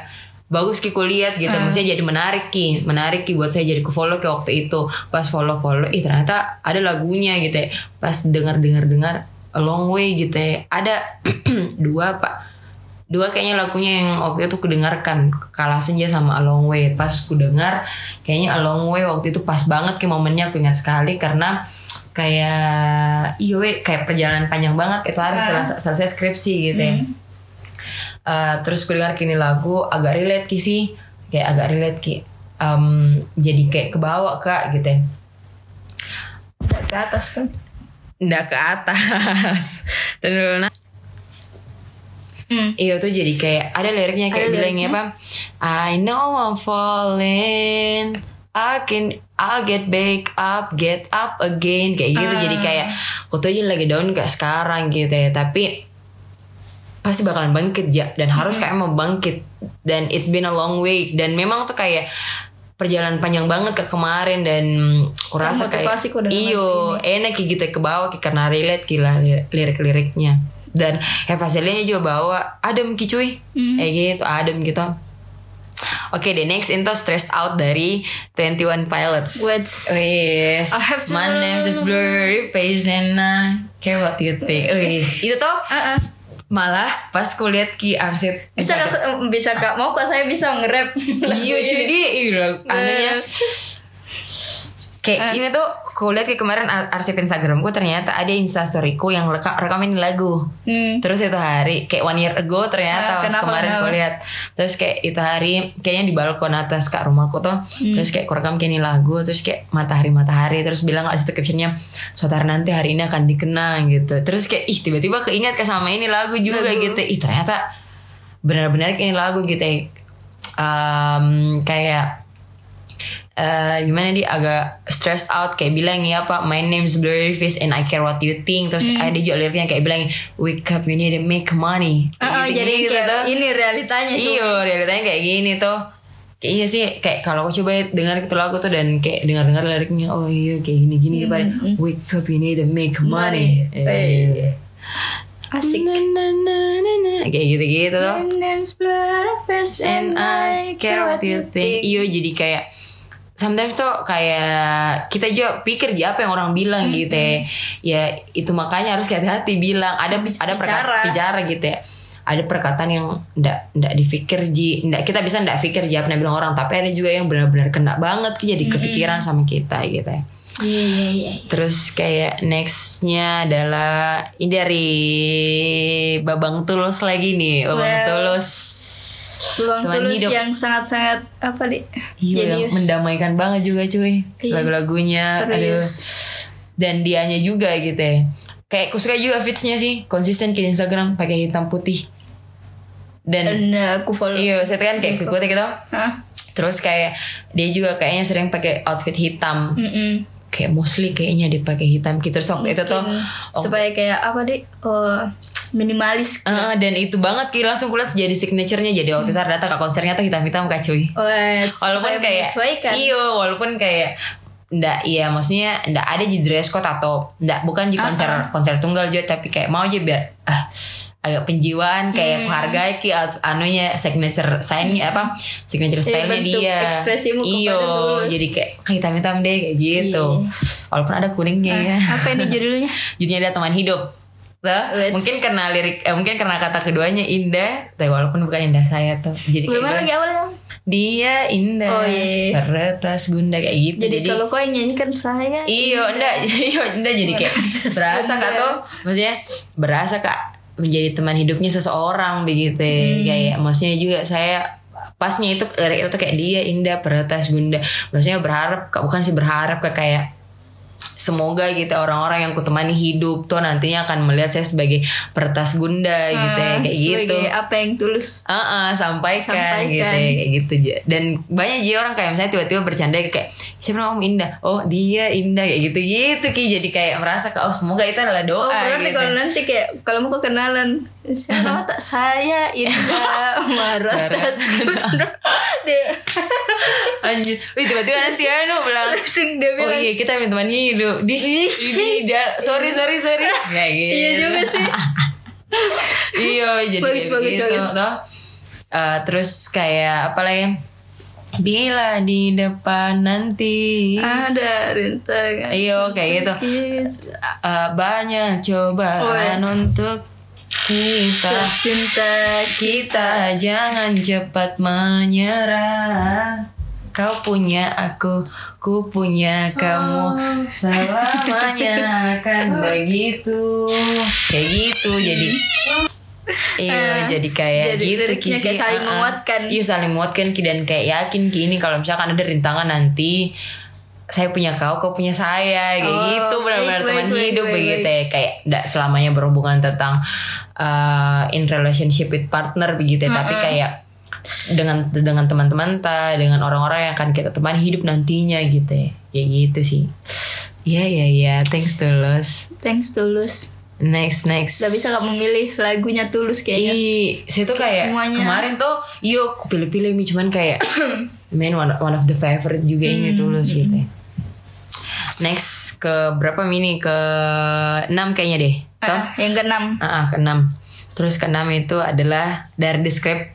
Speaker 3: bagus ki ku lihat gitu maksudnya jadi menarik ki menarik ki buat saya jadi ku follow ke waktu itu pas follow follow ih ternyata ada lagunya gitu ya pas dengar dengar dengar a long way gitu ya ada dua pak dua kayaknya lagunya yang waktu itu kudengarkan kalah senja sama A Long Way pas kudengar kayaknya A Long Way waktu itu pas banget ke momennya aku ingat sekali karena kayak iya weh, kayak perjalanan panjang banget itu harus selesai, selesai skripsi gitu ya Eh, terus gue dengar kini lagu agak relate ki sih kayak agak relate ki Em, jadi kayak kebawa kak gitu ya
Speaker 2: Nggak Ke atas kan.
Speaker 3: ndak ke atas terus
Speaker 2: Hmm.
Speaker 3: Iya tuh jadi kayak ada liriknya kayak
Speaker 2: Ada
Speaker 3: bilangnya apa? I know I'm falling, I can I'll get back up, get up again kayak gitu. Jadi kayak aku tuh aja lagi down kayak sekarang gitu ya, tapi pasti bakalan bangkit ja dan harus kayak mau bangkit dan it's been a long way dan memang tuh kayak perjalanan panjang banget ke kemarin dan
Speaker 2: Kan
Speaker 3: kurasa kayak
Speaker 2: Termotivasi kok dengan
Speaker 3: iyo
Speaker 2: ya.
Speaker 3: enak kayak gitu ke bawah kayak karena relate gila li- lirik-liriknya dan Eva Celia juga bawa adem ki cuy
Speaker 2: Mm-hmm.
Speaker 3: kayak gitu adem gitu Oke the next itu stressed out dari 21 Pilots.
Speaker 2: Wets.
Speaker 3: Yes.
Speaker 2: I have to-
Speaker 3: My name is blurry face and I care what you think. Wes. Itu tuh
Speaker 2: Ah, ah.
Speaker 3: malah pas kuliat ki arsip
Speaker 2: Bisa kak, bisa kak. Mau kak saya bisa nge-rap.
Speaker 3: iya cuy dia iya anehnya
Speaker 2: Eh.
Speaker 3: kayak ini tuh kuliat ki kemarin ar- arsip instagramku ternyata ada instastoryku yang reka- rekamin lagu
Speaker 2: Hmm.
Speaker 3: terus itu hari kayak one year ago ternyata
Speaker 2: Ah,
Speaker 3: pas
Speaker 2: kenapa,
Speaker 3: kemarin
Speaker 2: kenapa?
Speaker 3: kulihat terus kayak itu hari kayaknya di balkon atas kak rumahku tuh
Speaker 2: Hmm.
Speaker 3: terus kayak kurekam kayak ini lagu terus kayak matahari matahari terus bilang ada situ captionnya suatu hari nanti hari ini akan dikenang gitu terus kayak ih tiba-tiba keinget ke sama ini lagu juga
Speaker 2: Lagu.
Speaker 3: gitu ih ternyata benar-benar ini lagu gitu ya Em, kayak eh gimana dia agak stressed out kayak bilang ya pak my name's blurry face and I care what you think terus
Speaker 2: Hmm.
Speaker 3: ada juga liriknya kayak bilang wake up you need to make money Kayak
Speaker 2: Ah, ah,
Speaker 3: gitu-gitu
Speaker 2: jadi kayak
Speaker 3: tuh.
Speaker 2: ini realitanya cuy.
Speaker 3: Iya, realitanya kayak gini tuh. Kayak iya sih, kayak kalau aku coba dengar itu lagu tuh dan kayak dengar-dengar liriknya, oh iya kayak gini-gini hmm. Nah, iya, Wake up you need to make money.
Speaker 2: Money. Eh. Asik.
Speaker 3: Na, na, na, na, na. Kayak gitu-gitu tuh.
Speaker 2: My name's Blurfest
Speaker 3: Iya. And I care what you think. Iya, jadi kayak Sometimes tuh kayak kita juga pikir ya apa yang orang bilang gitu ya. Ya itu makanya harus hati-hati bilang ada ada
Speaker 2: Bicara.
Speaker 3: perkataan bicara gitu ya ada perkataan yang ndak ndak dipikir ji ndak kita bisa ndak pikir ji apa yang bilang orang tapi ada juga yang benar-benar kena banget Ki, jadi kepikiran sama kita gitu ya
Speaker 2: Iya iya iya.
Speaker 3: terus kayak nextnya adalah ini dari babang tulus lagi nih babang
Speaker 2: Well,
Speaker 3: tulus
Speaker 2: Luang
Speaker 3: Teman
Speaker 2: tulus
Speaker 3: hidup.
Speaker 2: yang sangat-sangat apa di?
Speaker 3: Iya, yang mendamaikan banget juga cuy
Speaker 2: Iya.
Speaker 3: lagu-lagunya aduh
Speaker 2: Serius.
Speaker 3: dan dianya juga gitu ya kayak aku suka juga fitsnya sih konsisten di Instagram pakai hitam putih dan
Speaker 2: Dan uh, aku follow.
Speaker 3: Iya, saya tuh kan kayak kekut gitu.
Speaker 2: Hah?
Speaker 3: Terus kayak dia juga kayaknya sering pakai outfit hitam.
Speaker 2: Mm-mm.
Speaker 3: Kayak mostly kayaknya dia pakai hitam gitu. Terus waktu itu tuh oh,
Speaker 2: supaya kayak apa di? Oh, minimalis.
Speaker 3: eh, dan itu banget kayak langsung kulihat jadi signaturenya jadi waktu itu datang ke konsernya tuh hitam-hitam kak cuy.
Speaker 2: Oh, eh,
Speaker 3: Walaupun
Speaker 2: supaya
Speaker 3: kayak iya.
Speaker 2: menyesuaikan.
Speaker 3: iyo, walaupun kayak ndak iya maksudnya ndak ada di dress code atau ndak bukan di konser
Speaker 2: Ah,
Speaker 3: konser tunggal juga tapi kayak mau aja biar ah, agak penjiwaan
Speaker 2: Hmm.
Speaker 3: kayak hargai ki at- anunya signature sign apa signature
Speaker 2: Jadi
Speaker 3: stylenya
Speaker 2: bentuk
Speaker 3: dia
Speaker 2: ekspresimu kepada Iya.
Speaker 3: iyo
Speaker 2: Tulus.
Speaker 3: jadi kayak hitam hitam deh kayak gitu walaupun ada kuningnya ya
Speaker 2: Nah, Ah. Apa ini judulnya?
Speaker 3: jadinya ada teman hidup Tuh,
Speaker 2: Wits.
Speaker 3: mungkin karena lirik eh, mungkin karena kata keduanya indah tapi walaupun bukan indah saya tuh jadi kayak
Speaker 2: Gimana
Speaker 3: bilang,
Speaker 2: lagi awalnya?
Speaker 3: dia indah
Speaker 2: Oh, iya.
Speaker 3: teretas gunda kayak gitu
Speaker 2: Jadi, kalau kau yang nyanyikan saya
Speaker 3: Iyo, enggak, iyo, enggak jadi kayak berasa kak tuh, maksudnya berasa kak menjadi teman hidupnya seseorang begitu,
Speaker 2: Hmm.
Speaker 3: kayak maksudnya juga saya pasnya itu lirik itu kayak dia indah peretas gunda, maksudnya berharap kak bukan sih berharap kak kayak Semoga gitu orang-orang yang kutemani hidup tuh nantinya akan melihat saya sebagai peretas gunda gitu ya
Speaker 2: Ah,
Speaker 3: kayak gitu.
Speaker 2: sebagai apa yang tulus
Speaker 3: Ah, ah, sampaikan,
Speaker 2: Sampaikan.
Speaker 3: gitu ya, kayak gitu aja. Dan banyak juga orang kayak misalnya tiba-tiba bercanda kayak siapa nama om Indah? Oh, dia Indah kayak gitu-gitu Ki. Jadi kayak merasa kayak oh semoga itu adalah doa
Speaker 2: Oh, berarti
Speaker 3: gitu.
Speaker 2: kalau nanti kayak kalau mau kau kenalan siapa tak saya Indah Maratas dia
Speaker 3: Anjir. Wih, tiba-tiba nanti anu bilang
Speaker 2: langsung
Speaker 3: Oh
Speaker 2: dia bilang
Speaker 3: iya kita minta teman hidup di di dia sorry sorry sorry ya gitu.
Speaker 2: iya juga sih
Speaker 3: iya jadi
Speaker 2: Bagus,
Speaker 3: kayak
Speaker 2: bagus,
Speaker 3: gitu,
Speaker 2: bagus.
Speaker 3: toh. Eh, terus kayak apa lagi bila di depan nanti
Speaker 2: ada kan? rintangan
Speaker 3: Iya kayak gitu Uh, Banyak
Speaker 2: Oh, iya.
Speaker 3: cobaan untuk kita
Speaker 2: cinta
Speaker 3: Kita jangan cepat menyerah Kau punya aku, ku punya
Speaker 2: Oh.
Speaker 3: kamu Selamanya akan begitu Kayak gitu jadi Iya, jadi kayak
Speaker 2: Eh, jadi
Speaker 3: gitu
Speaker 2: liriknya
Speaker 3: Ki,
Speaker 2: kayak
Speaker 3: sih. Ah,
Speaker 2: saling
Speaker 3: ah.
Speaker 2: menguatkan.
Speaker 3: Iya, saling menguatkan Ki dan kayak yakin Ki ini kalau misalkan ada rintangan nanti saya punya kau, kau punya saya, kayak
Speaker 2: Oh,
Speaker 3: gitu benar-benar
Speaker 2: baik,
Speaker 3: teman
Speaker 2: baik, baik,
Speaker 3: hidup
Speaker 2: baik,
Speaker 3: begitu ya kayak tidak selamanya berhubungan tentang eh, in relationship with partner begitu
Speaker 2: Ah,
Speaker 3: ya, tapi kayak dengan dengan teman-teman ta, dengan orang-orang yang akan kita teman hidup nantinya gitu ya, kayak gitu sih. Iya iya iya, thanks Tulus.
Speaker 2: thanks tulus
Speaker 3: Next next.
Speaker 2: Gak bisa gak memilih lagunya tulus kayaknya
Speaker 3: Ih, saya tuh Iya, kayak
Speaker 2: semuanya.
Speaker 3: kemarin tuh yuk aku pilih-pilih nih cuman kayak main one, one of the favorite juga ini tulus gitu ya. Next ke berapa mini ke 6 kayaknya deh. Toh?
Speaker 2: Ah, yang keenam
Speaker 3: Ah, ah, ke 6. Terus ke 6 itu adalah dari the script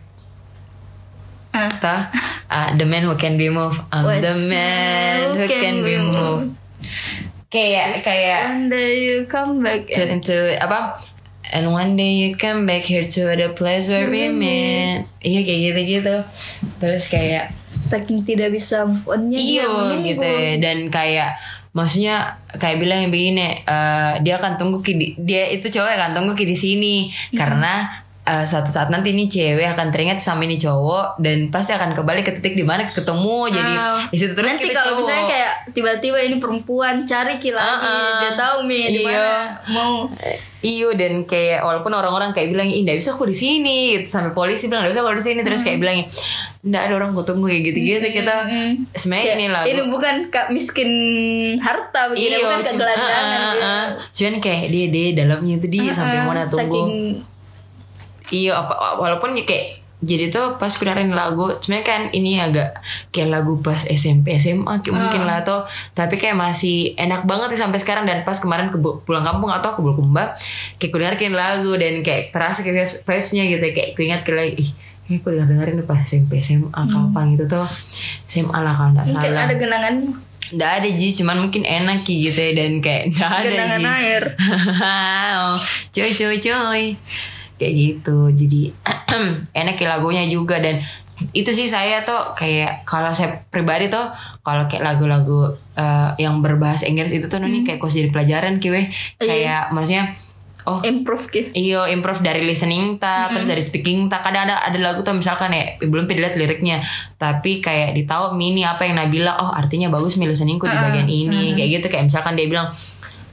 Speaker 2: Ah.
Speaker 3: toh? Ah, the man who can be moved. I'm
Speaker 2: What's
Speaker 3: the man who can be moved. Kayak kayak
Speaker 2: One day you come back Eh,
Speaker 3: to, to apa and one day you come back here to the place where we
Speaker 2: Mm-hmm.
Speaker 3: met iya kayak gitu gitu terus kayak
Speaker 2: saking tidak bisa move onnya
Speaker 3: iyo
Speaker 2: dia menunggu.
Speaker 3: gitu ya. dan kayak maksudnya kayak bilang yang begini eh, dia akan tunggu ki di- dia itu cowok yang akan tunggu ki di sini
Speaker 2: Mm-hmm.
Speaker 3: karena eh, suatu saat nanti ini cewek akan teringat sama ini cowok dan pasti akan kembali ke titik di mana ketemu jadi
Speaker 2: Ah.
Speaker 3: di situ terus
Speaker 2: nanti
Speaker 3: kita
Speaker 2: kalau
Speaker 3: cowok.
Speaker 2: misalnya kayak tiba-tiba ini perempuan cari ki lagi
Speaker 3: Ah, ah.
Speaker 2: dia tahu mi di
Speaker 3: Iya.
Speaker 2: mana mau
Speaker 3: Iyo dan kayak walaupun orang-orang kayak bilang ih nggak bisa aku di sini gitu. sampai polisi bilang nggak bisa aku di sini terus
Speaker 2: Hmm.
Speaker 3: kayak bilang nggak ada orang gue tunggu ya gitu-gitu kita sebenarnya
Speaker 2: Kayak,
Speaker 3: ini lagu
Speaker 2: ini bukan kak miskin harta begini bukan
Speaker 3: cuman-
Speaker 2: kegelandangan
Speaker 3: ah, ah,
Speaker 2: gitu.
Speaker 3: ah. cuman kayak dia dia dalamnya itu dia sampai
Speaker 2: Ah,
Speaker 3: mana tunggu
Speaker 2: saking
Speaker 3: Iya, apa walaupun ya kayak jadi tuh pas kedengerin lagu sebenarnya kan ini agak kayak lagu pas SMP SMA
Speaker 2: Ah.
Speaker 3: kayak mungkin lah tuh tapi kayak masih enak banget sih sampai sekarang dan pas kemarin ke pulang kampung atau ke Bulukumba kayak gue dengerin lagu dan kayak terasa kayak vibes- vibesnya gitu kayak gue ingat kayak lagi, ih ini gue denger dengerin pas SMP SMA kapan gitu tuh SMA lah kalau nggak
Speaker 2: Hmm. mungkin
Speaker 3: salah
Speaker 2: ada genangan
Speaker 3: nggak ada Ji cuman mungkin enak Ki, gitu ya dan kayak nggak ada
Speaker 2: genangan
Speaker 3: Ji
Speaker 2: air
Speaker 3: Wow, Oh, cuy cuy cuy kayak gitu jadi enak ya lagunya juga dan itu sih saya tuh kayak kalau saya pribadi tuh kalau kayak lagu-lagu eh, yang berbahasa Inggris itu tuh nih kayak kos jadi pelajaran kiwe kayak maksudnya oh
Speaker 2: improve gitu
Speaker 3: Iyo improve dari listening ta terus dari speaking ta kadang ada ada lagu tuh misalkan ya belum dilihat liriknya tapi kayak ditahu mini apa yang Nabila oh artinya bagus mi listeningku di bagian ini kayak gitu kayak misalkan dia bilang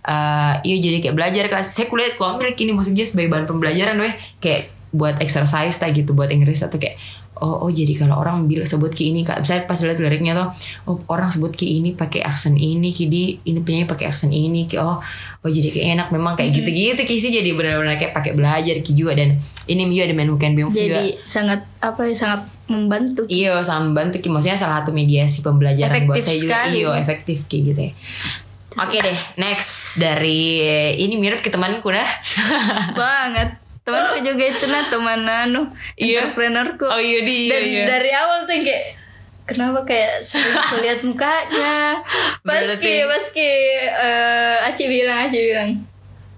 Speaker 3: eh iya jadi kayak belajar kak saya kulihat kok ambil ini maksudnya sebagai bahan pembelajaran weh kayak buat exercise ta gitu buat Inggris atau kayak oh oh jadi kalau orang bilang sebut ki ini kak saya pas lihat liriknya tuh oh orang sebut ki ini pakai aksen ini ki di ini penyanyi pakai aksen ini ki oh oh jadi kayak enak memang kayak
Speaker 2: Hmm.
Speaker 3: gitu-gitu ki sih jadi benar-benar kayak pakai belajar ki juga dan ini juga ada main weekend Beyond juga
Speaker 2: jadi sangat apa ya sangat membantu
Speaker 3: Iya sangat membantu Ki. Maksudnya salah satu mediasi pembelajaran buat
Speaker 2: Efektif
Speaker 3: saya juga
Speaker 2: sekali.
Speaker 3: Iya efektif kayak gitu ya Oke deh next Dari ini mirip ke temanku nah
Speaker 2: banget temanku juga itu nah teman anu
Speaker 3: Iya.
Speaker 2: entrepreneurku
Speaker 3: Oh iya di
Speaker 2: dan
Speaker 3: iya.
Speaker 2: dari awal tuh yang kayak kenapa kayak sering bisa lihat mukanya
Speaker 3: Berarti-
Speaker 2: paski paski eh Aci bilang Aci bilang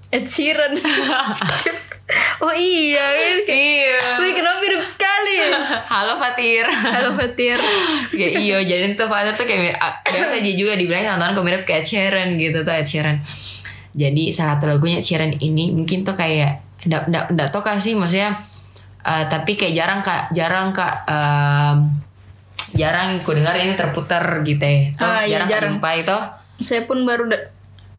Speaker 2: Ed Sheeran oh iya
Speaker 3: iya
Speaker 2: Wih kenapa mirip sekali
Speaker 3: halo Fatir
Speaker 2: Halo Fatir
Speaker 3: kayak iyo Ya iya, jadi tuh Fatir tuh kayak ah, biasa aja juga dibilang tontonan kok mirip kayak Ed Sheeran gitu tuh Ed Sheeran jadi salah satu lagunya Ed Sheeran ini mungkin tuh kayak ndak ndak ndak tau kah sih maksudnya eh, tapi kayak jarang kak jarang kak em, jarang ku dengar ini terputar gitu ya Tuh,
Speaker 2: Ah, iya,
Speaker 3: jarang
Speaker 2: jarang. Iya,
Speaker 3: jumpa itu
Speaker 2: Saya pun baru da-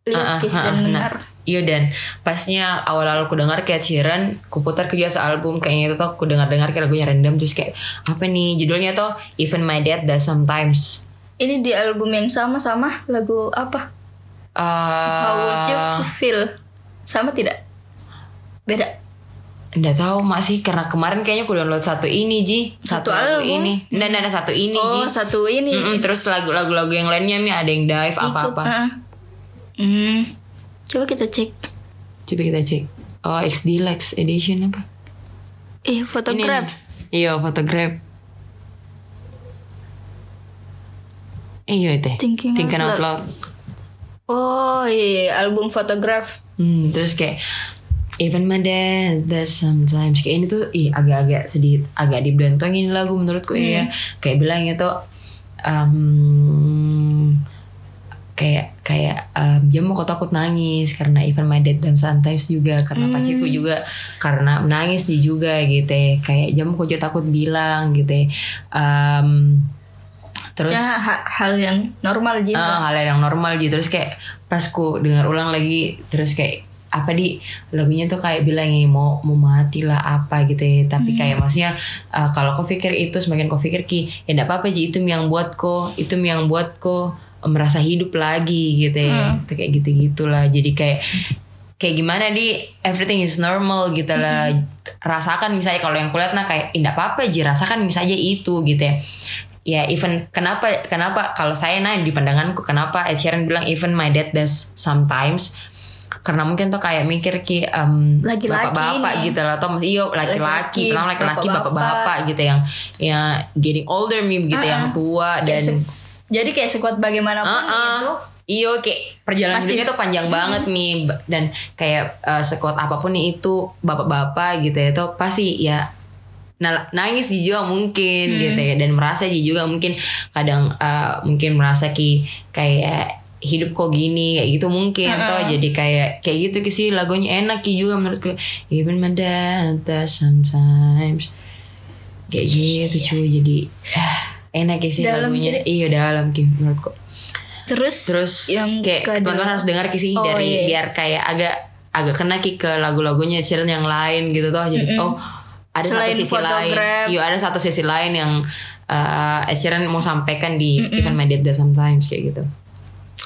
Speaker 3: Ah, ah,
Speaker 2: lihat ih,
Speaker 3: ah,
Speaker 2: dan
Speaker 3: ah,
Speaker 2: dengar
Speaker 3: nah. Iya dan pasnya awal-awal aku dengar kayak Ciran, ku putar ke jasa album kayaknya itu tuh aku dengar-dengar kayak lagunya random terus kayak apa nih judulnya tuh Even My Dad Does Sometimes.
Speaker 2: Ini di album yang sama-sama lagu apa? How would you
Speaker 3: Eh,
Speaker 2: feel? Sama tidak? Beda.
Speaker 3: nggak tahu masih karena kemarin kayaknya aku download satu ini Ji, satu,
Speaker 2: Satu
Speaker 3: lagu
Speaker 2: album?
Speaker 3: ini. Nggak, nggak, nggak, satu ini Ji.
Speaker 2: Oh, satu ini.
Speaker 3: Mm-mm, terus lagu-lagu yang lainnya mi ada yang dive
Speaker 2: Ikut,
Speaker 3: apa-apa.
Speaker 2: ah. Hmm. Coba kita cek.
Speaker 3: Coba kita cek. Oh, X Deluxe Edition apa? Ini
Speaker 2: Eh, fotograf.
Speaker 3: nih. Iya, fotograf. Iya itu.
Speaker 2: Thinking
Speaker 3: out
Speaker 2: Out
Speaker 3: loud.
Speaker 2: Oh, iya, album fotograf.
Speaker 3: Hmm, terus kayak Even my dad does sometimes kayak ini tuh ih agak-agak sedih agak dibelantongin lagu menurutku ya kayak bilangnya tuh um, kayak kayak um, dia mau kok takut nangis karena even my dad dan sometimes juga karena paciku juga karena menangis dia juga gitu ya. kayak jam kok juga takut bilang gitu ya. Um, terus
Speaker 2: Ya, ha- hal yang normal
Speaker 3: Eh, hal
Speaker 2: juga.
Speaker 3: yang normal gitu terus kayak pas ku dengar ulang lagi terus kayak apa di lagunya tuh kayak bilangnya mau mau mati lah apa gitu ya tapi kayak maksudnya eh, kalau kau pikir itu semakin kau pikir ki ya enggak apa-apa ji itu yang buat ko itu yang buat ko merasa hidup lagi gitu ya Itu kayak gitu gitulah jadi kayak kayak gimana di everything is normal gitu lah
Speaker 2: Mm-hmm.
Speaker 3: rasakan misalnya kalau yang kulihat nah kayak tidak apa-apa ji rasakan misalnya itu gitu ya ya even kenapa kenapa kalau saya nah di pandanganku kenapa Ed Sheeran bilang even my dad does sometimes karena mungkin tuh kayak mikir ki em,
Speaker 2: Laki-laki
Speaker 3: bapak-bapak
Speaker 2: nih.
Speaker 3: gitu lah atau iyo laki-laki
Speaker 2: Laki-laki,
Speaker 3: pertama laki-laki
Speaker 2: bapak-bapak.
Speaker 3: bapak-bapak gitu yang yang getting older nih begitu
Speaker 2: Ah-ah.
Speaker 3: yang tua
Speaker 2: Ah,
Speaker 3: dan
Speaker 2: Kayak
Speaker 3: Ah,
Speaker 2: se- jadi kayak sekuat bagaimanapun gitu.
Speaker 3: Heeh.
Speaker 2: itu
Speaker 3: Iyo kayak perjalanan
Speaker 2: Masih- Hmm.
Speaker 3: hidupnya tuh panjang banget nih Ba- dan kayak eh, sekuat apapun nih itu bapak-bapak gitu ya itu pasti ya nal- nangis dia juga mungkin
Speaker 2: Hmm.
Speaker 3: gitu ya dan merasa dia juga mungkin kadang eh, mungkin merasa ki kayak hidup kok gini kayak gitu mungkin toh jadi kayak kayak gitu ki sih lagunya enak ki juga menurutku even my dad does sometimes kayak gitu cuy jadi ah, enak ya sih
Speaker 2: Iya. Dalam
Speaker 3: lagunya
Speaker 2: jadi-
Speaker 3: iya dalam ki menurutku
Speaker 2: terus
Speaker 3: Terus kayak
Speaker 2: kedua-
Speaker 3: teman-teman harus dengar kisih
Speaker 2: Oh,
Speaker 3: dari gitu ya.
Speaker 2: iya.
Speaker 3: biar kayak agak agak kena ki ke lagu-lagunya Ed Sheeran yang lain gitu toh. Jadi oh ada
Speaker 2: Selain
Speaker 3: satu sisi
Speaker 2: photograph.
Speaker 3: lain. Yo ada satu sisi lain yang uh, Ed Sheeran mau sampaikan di Even My Dad Does Sometimes kayak gitu.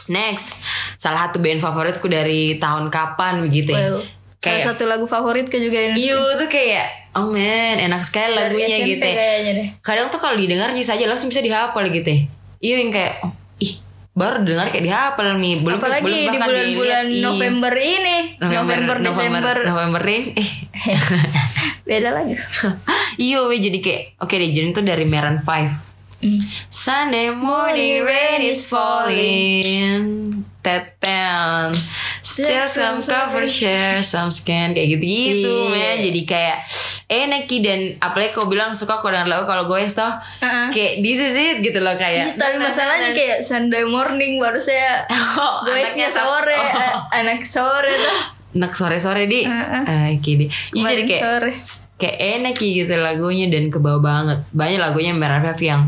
Speaker 3: Next, salah satu band favoritku dari tahun kapan begitu ya.
Speaker 2: Well, salah
Speaker 3: kayak
Speaker 2: satu lagu favorit ke juga ini
Speaker 3: Iyo tuh kayak oh man enak sekali
Speaker 2: Dari
Speaker 3: lagunya
Speaker 2: SMP
Speaker 3: gitu. ya
Speaker 2: kayaknya deh
Speaker 3: kadang tuh kalau didengar bisa aja langsung bisa dihafal gitu ya. Iya yang kayak oh, ih baru dengar kayak dihafal nih belum
Speaker 2: apalagi
Speaker 3: belum
Speaker 2: di
Speaker 3: bahkan
Speaker 2: bulan-bulan
Speaker 3: dilihat. Iya.
Speaker 2: November ini November, Desember
Speaker 3: November ini eh
Speaker 2: beda lagi
Speaker 3: iya weh jadi kayak oke deh jadi itu dari Maroon 5
Speaker 2: Hmm.
Speaker 3: Sunday morning rain is falling Tetan Still some cover share some scan Kayak gitu-gitu
Speaker 2: Iya.
Speaker 3: men Jadi kayak enak Ki. dan apalagi kau bilang suka kau dengan lagu kalau gue toh
Speaker 2: Uh-uh.
Speaker 3: kayak this is it gitu loh kayak
Speaker 2: tapi masalahnya kayak Sunday morning baru saya
Speaker 3: nah. Oh, anaknya
Speaker 2: goesnya
Speaker 3: sab-
Speaker 2: sore
Speaker 3: Oh.
Speaker 2: eh, anak sore tuh
Speaker 3: Nak sore-sore di
Speaker 2: Heeh.
Speaker 3: Ah, Oke deh Iya, jadi
Speaker 2: Uh-uh. kemarin
Speaker 3: kayak
Speaker 2: sore
Speaker 3: Kayak enak gitu lagunya Dan kebawa banget Banyak lagunya Merah Raf yang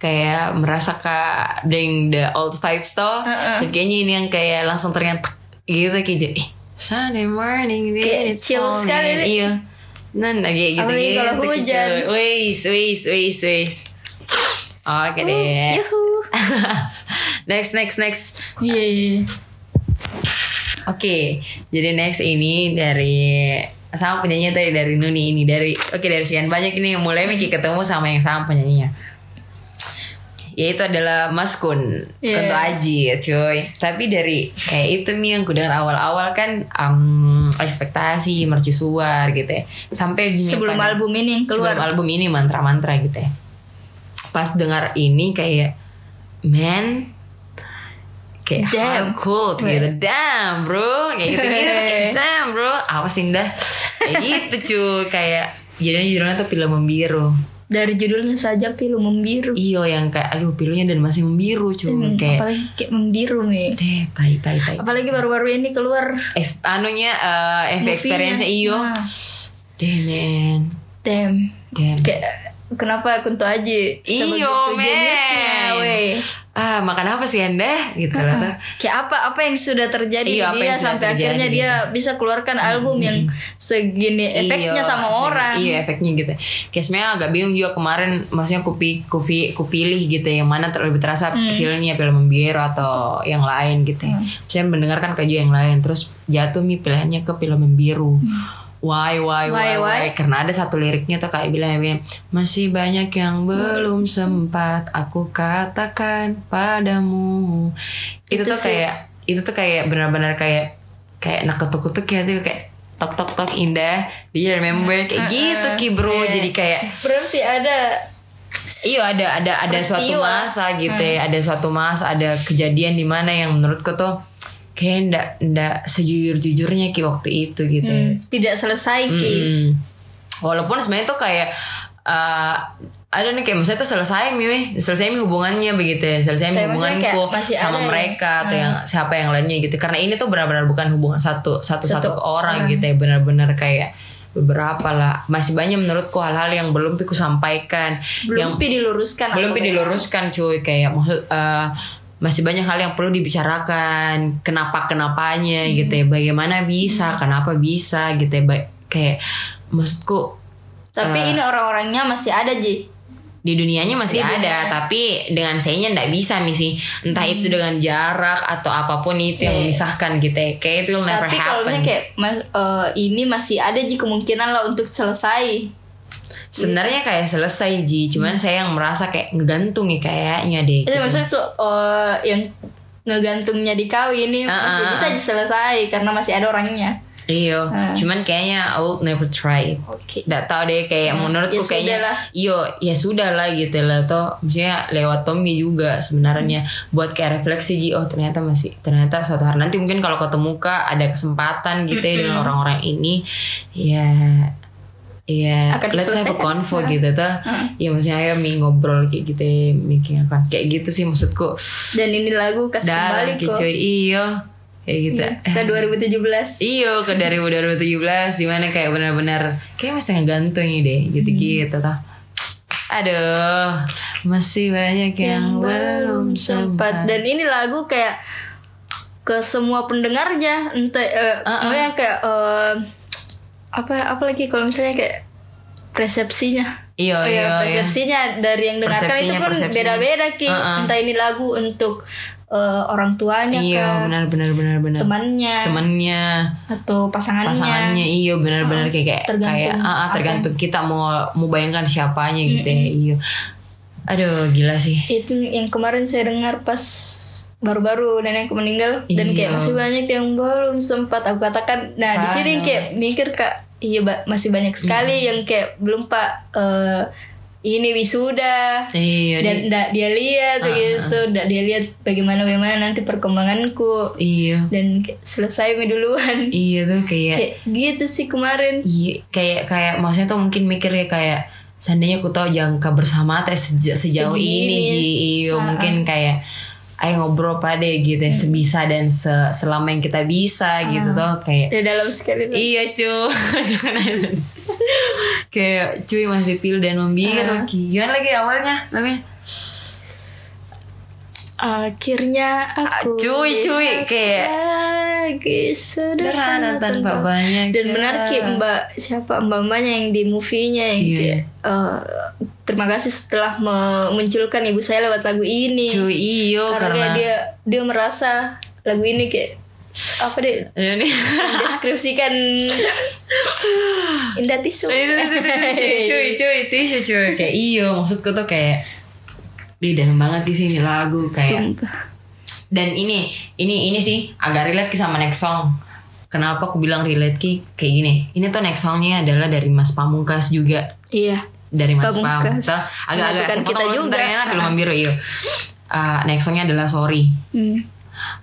Speaker 3: Kayak merasa kak Deng the old vibes toh
Speaker 2: Heeh.
Speaker 3: Dan Kayaknya ini yang kayak langsung ternyata Gitu kayak jadi "Ih, Sunday morning
Speaker 2: Kayak
Speaker 3: it's
Speaker 2: chill
Speaker 3: falling."
Speaker 2: sekali, Dik.
Speaker 3: Iya Nah, nah, kayak gitu
Speaker 2: Apalagi
Speaker 3: gitu,
Speaker 2: kalau
Speaker 3: kayak
Speaker 2: hujan.
Speaker 3: chill. Wais, wais, wais, wais Oke deh
Speaker 2: Hmm, yuhu
Speaker 3: Next, next, next
Speaker 2: iya iya
Speaker 3: Oke, jadi next ini dari sama penyanyinya tadi dari Nuni ini dari oke dari sekian banyak ini yang mulai Miki ketemu sama yang sama penyanyinya. Yaitu adalah Mas Kun,
Speaker 2: Iya.
Speaker 3: Kunto Aji, cuy. Tapi dari kayak itu nih yang gue dengar awal-awal kan um, ekspektasi, mercusuar gitu ya. Sampai di
Speaker 2: sebelum
Speaker 3: pada-
Speaker 2: album ini yang keluar
Speaker 3: Sebelum album ini mantra-mantra gitu ya. Pas dengar ini kayak man kayak
Speaker 2: Damn.
Speaker 3: damn cool kayak gitu damn bro kayak gitu gitu tuh kayak
Speaker 2: Eh.
Speaker 3: damn bro apa sih indah kayak gitu cuy kayak jadinya judulnya tuh pilu membiru
Speaker 2: Dari judulnya saja pilu membiru.
Speaker 3: iyo yang kayak aduh pilunya dan masih membiru cuy Iya,
Speaker 2: Hmm,
Speaker 3: kayak
Speaker 2: apalagi kayak membiru nih.
Speaker 3: deh tai tai tai
Speaker 2: Apalagi baru-baru ini keluar
Speaker 3: Eks- anunya eh, MV
Speaker 2: movie-nya.
Speaker 3: experience iyo
Speaker 2: Nah,
Speaker 3: deh men
Speaker 2: damn.
Speaker 3: damn
Speaker 2: Kayak kenapa Kunto Aji sebegitu
Speaker 3: Iyo, men.
Speaker 2: jeniusnya, weh.
Speaker 3: ah makan apa sih anda gitu lah tuh.
Speaker 2: Kayak apa apa yang sudah terjadi di
Speaker 3: Iya, apa
Speaker 2: dia
Speaker 3: yang sudah
Speaker 2: sampai
Speaker 3: terjadi. Hmm.
Speaker 2: akhirnya dia bisa keluarkan album yang segini efeknya
Speaker 3: Iya,
Speaker 2: sama
Speaker 3: efeknya-
Speaker 2: orang.
Speaker 3: iya efeknya gitu kayak sebenarnya agak bingung juga kemarin maksudnya kupi kupi kupilih gitu yang mana ter- lebih terasa
Speaker 2: Hmm.
Speaker 3: filmnya film membiru atau yang lain gitu ya. saya mendengarkan kajian yang lain terus jatuh mi pilihannya ke film membiru Why, why, why,
Speaker 2: Hmm. Why,
Speaker 3: why,
Speaker 2: why?
Speaker 3: Karena ada satu liriknya tuh kayak bilang begini, Masih banyak yang belum sempat Aku katakan padamu Itu,
Speaker 2: Itu
Speaker 3: tuh
Speaker 2: sih.
Speaker 3: kayak Itu tuh kayak benar-benar kayak Kayak nak ketuk-ketuk ya tuh Kayak tok tok tok indah Do you
Speaker 2: Nah,
Speaker 3: remember Kayak gitu
Speaker 2: uh-uh.
Speaker 3: ki bro
Speaker 2: Iya.
Speaker 3: Jadi kayak
Speaker 2: Berarti ada
Speaker 3: Iya ada ada ada suatu
Speaker 2: Peristiwa. Hmm.
Speaker 3: masa gitu ya, ada suatu masa ada kejadian di mana yang menurutku tuh kayak ndak ndak sejujur jujurnya ki waktu itu gitu. ya.
Speaker 2: hmm, tidak selesai Ki.
Speaker 3: Mm-mm. Walaupun sebenarnya tuh kayak eh, ada nih kayak misalnya tuh selesai mi, weh. selesai mi hubungannya begitu ya, selesai mi
Speaker 2: Tapi maksudnya kayak
Speaker 3: hubunganku
Speaker 2: masih
Speaker 3: sama
Speaker 2: ada ya.
Speaker 3: mereka atau yang siapa yang lainnya gitu. Karena ini tuh benar-benar bukan hubungan satu satu satu
Speaker 2: Satu
Speaker 3: ke orang gitu ya, benar-benar kayak beberapa lah. Masih banyak menurutku hal-hal yang belum piku sampaikan, yang
Speaker 2: Belum pi diluruskan.
Speaker 3: belum
Speaker 2: apa,
Speaker 3: pi
Speaker 2: Weh.
Speaker 3: diluruskan cuy kayak maksud eh, masih banyak hal yang perlu dibicarakan kenapa kenapanya
Speaker 2: Hmm.
Speaker 3: gitu ya bagaimana bisa kenapa bisa gitu ya Ba- kayak maksudku
Speaker 2: Tapi
Speaker 3: Eh.
Speaker 2: ini orang-orangnya masih ada Ji.
Speaker 3: di dunianya masih
Speaker 2: Di
Speaker 3: ada
Speaker 2: dunia. Hmm.
Speaker 3: tapi dengan sayanya ndak bisa misi entah itu dengan jarak atau apapun itu yang
Speaker 2: Iya.
Speaker 3: memisahkan gitu ya kayak itu will never
Speaker 2: Tapi kalau
Speaker 3: happen
Speaker 2: misalnya kayak mas- eh, ini masih ada Ji kemungkinan lah untuk selesai.
Speaker 3: sebenarnya kayak selesai ji cuman
Speaker 2: Hmm.
Speaker 3: saya yang merasa kayak ngegantung ya kayaknya deh
Speaker 2: Itu
Speaker 3: gitu.
Speaker 2: maksudnya tuh eh, yang ngegantungnya di kau ini masih
Speaker 3: Ah, ah,
Speaker 2: bisa
Speaker 3: ah.
Speaker 2: diselesai karena masih ada orangnya.
Speaker 3: Iya,
Speaker 2: Ah.
Speaker 3: cuman kayaknya I will never try it.
Speaker 2: Oke.
Speaker 3: Nggak tahu deh kayak menurutku
Speaker 2: ya sudah
Speaker 3: kayaknya
Speaker 2: lah.
Speaker 3: iyo ya sudah lah gitu lah toh maksudnya lewat Tommy juga sebenarnya
Speaker 2: Hmm.
Speaker 3: buat kayak refleksi ji oh ternyata masih ternyata suatu hari nanti mungkin kalau ketemu kak ada kesempatan gitu ya dengan
Speaker 2: Hmm.
Speaker 3: orang-orang ini ya ya
Speaker 2: Akan Hmm.
Speaker 3: let's have a
Speaker 2: diselesaikan.
Speaker 3: convo gitu tuh ya maksudnya ayo mi ngobrol kayak gitu ya, mi kayak apa. kayak gitu sih maksudku
Speaker 2: Dan ini lagu kasih
Speaker 3: dalam
Speaker 2: kembali
Speaker 3: gitu.
Speaker 2: kok. Iya.
Speaker 3: kicuy iyo kayak gitu
Speaker 2: Ke 2017.
Speaker 3: Iyo ke dari 2017 dimana kayak benar-benar kayak masih ngegantung nih deh gitu-gitu toh. Aduh, masih banyak yang, belum sempat.
Speaker 2: dan ini lagu kayak ke semua pendengarnya entah eh,
Speaker 3: Ah,
Speaker 2: namanya kayak eh, apa apa lagi kalau misalnya kayak persepsinya
Speaker 3: Iyo,
Speaker 2: Oh
Speaker 3: iyo,
Speaker 2: ya,
Speaker 3: iyo.
Speaker 2: persepsinya dari yang dengarkan itu
Speaker 3: iya, Persepsinya,
Speaker 2: pun
Speaker 3: persepsinya.
Speaker 2: beda-beda ki
Speaker 3: Uh-uh.
Speaker 2: entah ini lagu untuk eh, orang tuanya
Speaker 3: Iyo,
Speaker 2: kah,
Speaker 3: benar-benar benar-benar.
Speaker 2: temannya
Speaker 3: Iya. Temannya,
Speaker 2: atau pasangannya,
Speaker 3: pasangannya, iyo benar-benar kayak kayak
Speaker 2: tergantung
Speaker 3: kayak ah, ah,
Speaker 2: apa.
Speaker 3: tergantung kita mau mau bayangkan siapanya gitu ya. Iyo. Aduh, gila sih.
Speaker 2: itu yang kemarin saya dengar pas baru-baru nenekku meninggal dan
Speaker 3: Iya.
Speaker 2: kayak masih banyak yang belum sempat aku katakan nah di
Speaker 3: Parah. Iya.
Speaker 2: sini kayak mikir kak iya Mbak, masih banyak sekali yang kayak belum pak eh, ini wisuda
Speaker 3: Iyo,
Speaker 2: dan
Speaker 3: di-
Speaker 2: ndak dia lihat
Speaker 3: Ah,
Speaker 2: gitu ndak dia lihat bagaimana bagaimana nanti perkembanganku
Speaker 3: iyo.
Speaker 2: dan kayak selesai mi duluan
Speaker 3: Iya tuh kayak
Speaker 2: kayak gitu sih kemarin
Speaker 3: Iya, kayak kayak maksudnya tuh mungkin mikir ya kayak seandainya aku tahu jangka bersama teh seja- sejauh ini
Speaker 2: Sejenis.
Speaker 3: Ji. Iya, mungkin kayak ayo ngobrol pada gitu
Speaker 2: Hmm.
Speaker 3: ya, sebisa dan se- selama yang kita bisa gitu tuh kayak
Speaker 2: udah dalam sekali lagi.
Speaker 3: Iya cuy Jangan aja. Kayak cuy masih pil dan membiru Ki. Gimana lagi awalnya namanya
Speaker 2: Akhirnya
Speaker 3: Ah,
Speaker 2: aku
Speaker 3: cuy, cuy,
Speaker 2: lihat
Speaker 3: kayak
Speaker 2: lagi
Speaker 3: Sederhana tanpa banyak
Speaker 2: dan
Speaker 3: cara.
Speaker 2: benar ki mbak siapa mbak mbaknya yang di movie-nya yang
Speaker 3: Iya.
Speaker 2: kayak, eh, terima kasih setelah memunculkan ibu saya lewat lagu ini
Speaker 3: Cuy iyo
Speaker 2: karena,
Speaker 3: karena,
Speaker 2: kayak dia dia merasa lagu ini kayak apa deh
Speaker 3: Ini
Speaker 2: deskripsikan indah tisu
Speaker 3: itu itu, itu, cuy cuy cuy tisu cuy kayak iyo maksudku tuh kayak di dalam banget di sini lagu kayak
Speaker 2: Sumpah.
Speaker 3: dan ini ini ini sih agak relate ki sama next song kenapa aku bilang relate ki kayak gini ini tuh next songnya adalah dari Mas Pamungkas juga
Speaker 2: iya
Speaker 3: dari Mas
Speaker 2: Pamungkas.
Speaker 3: Pamungkas agak-agak
Speaker 2: Menyatukan
Speaker 3: sepotong
Speaker 2: kita
Speaker 3: dulu sebentar
Speaker 2: juga.
Speaker 3: Eh, enak belum membiru iyo Ah, next songnya adalah sorry
Speaker 2: Hmm.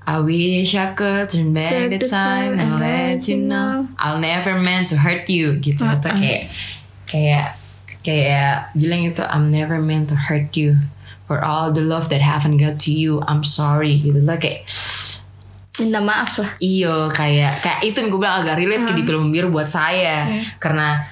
Speaker 3: I wish I could turn back the time and let you know I'll never meant to hurt you gitu atau kayak kayak kayak bilang itu I'm never meant to hurt you for all the love that haven't got to you I'm sorry gitu loh kayak
Speaker 2: minta maaf lah
Speaker 3: Iyo kayak kayak itu yang gue bilang agak relate ke di film biru buat saya karena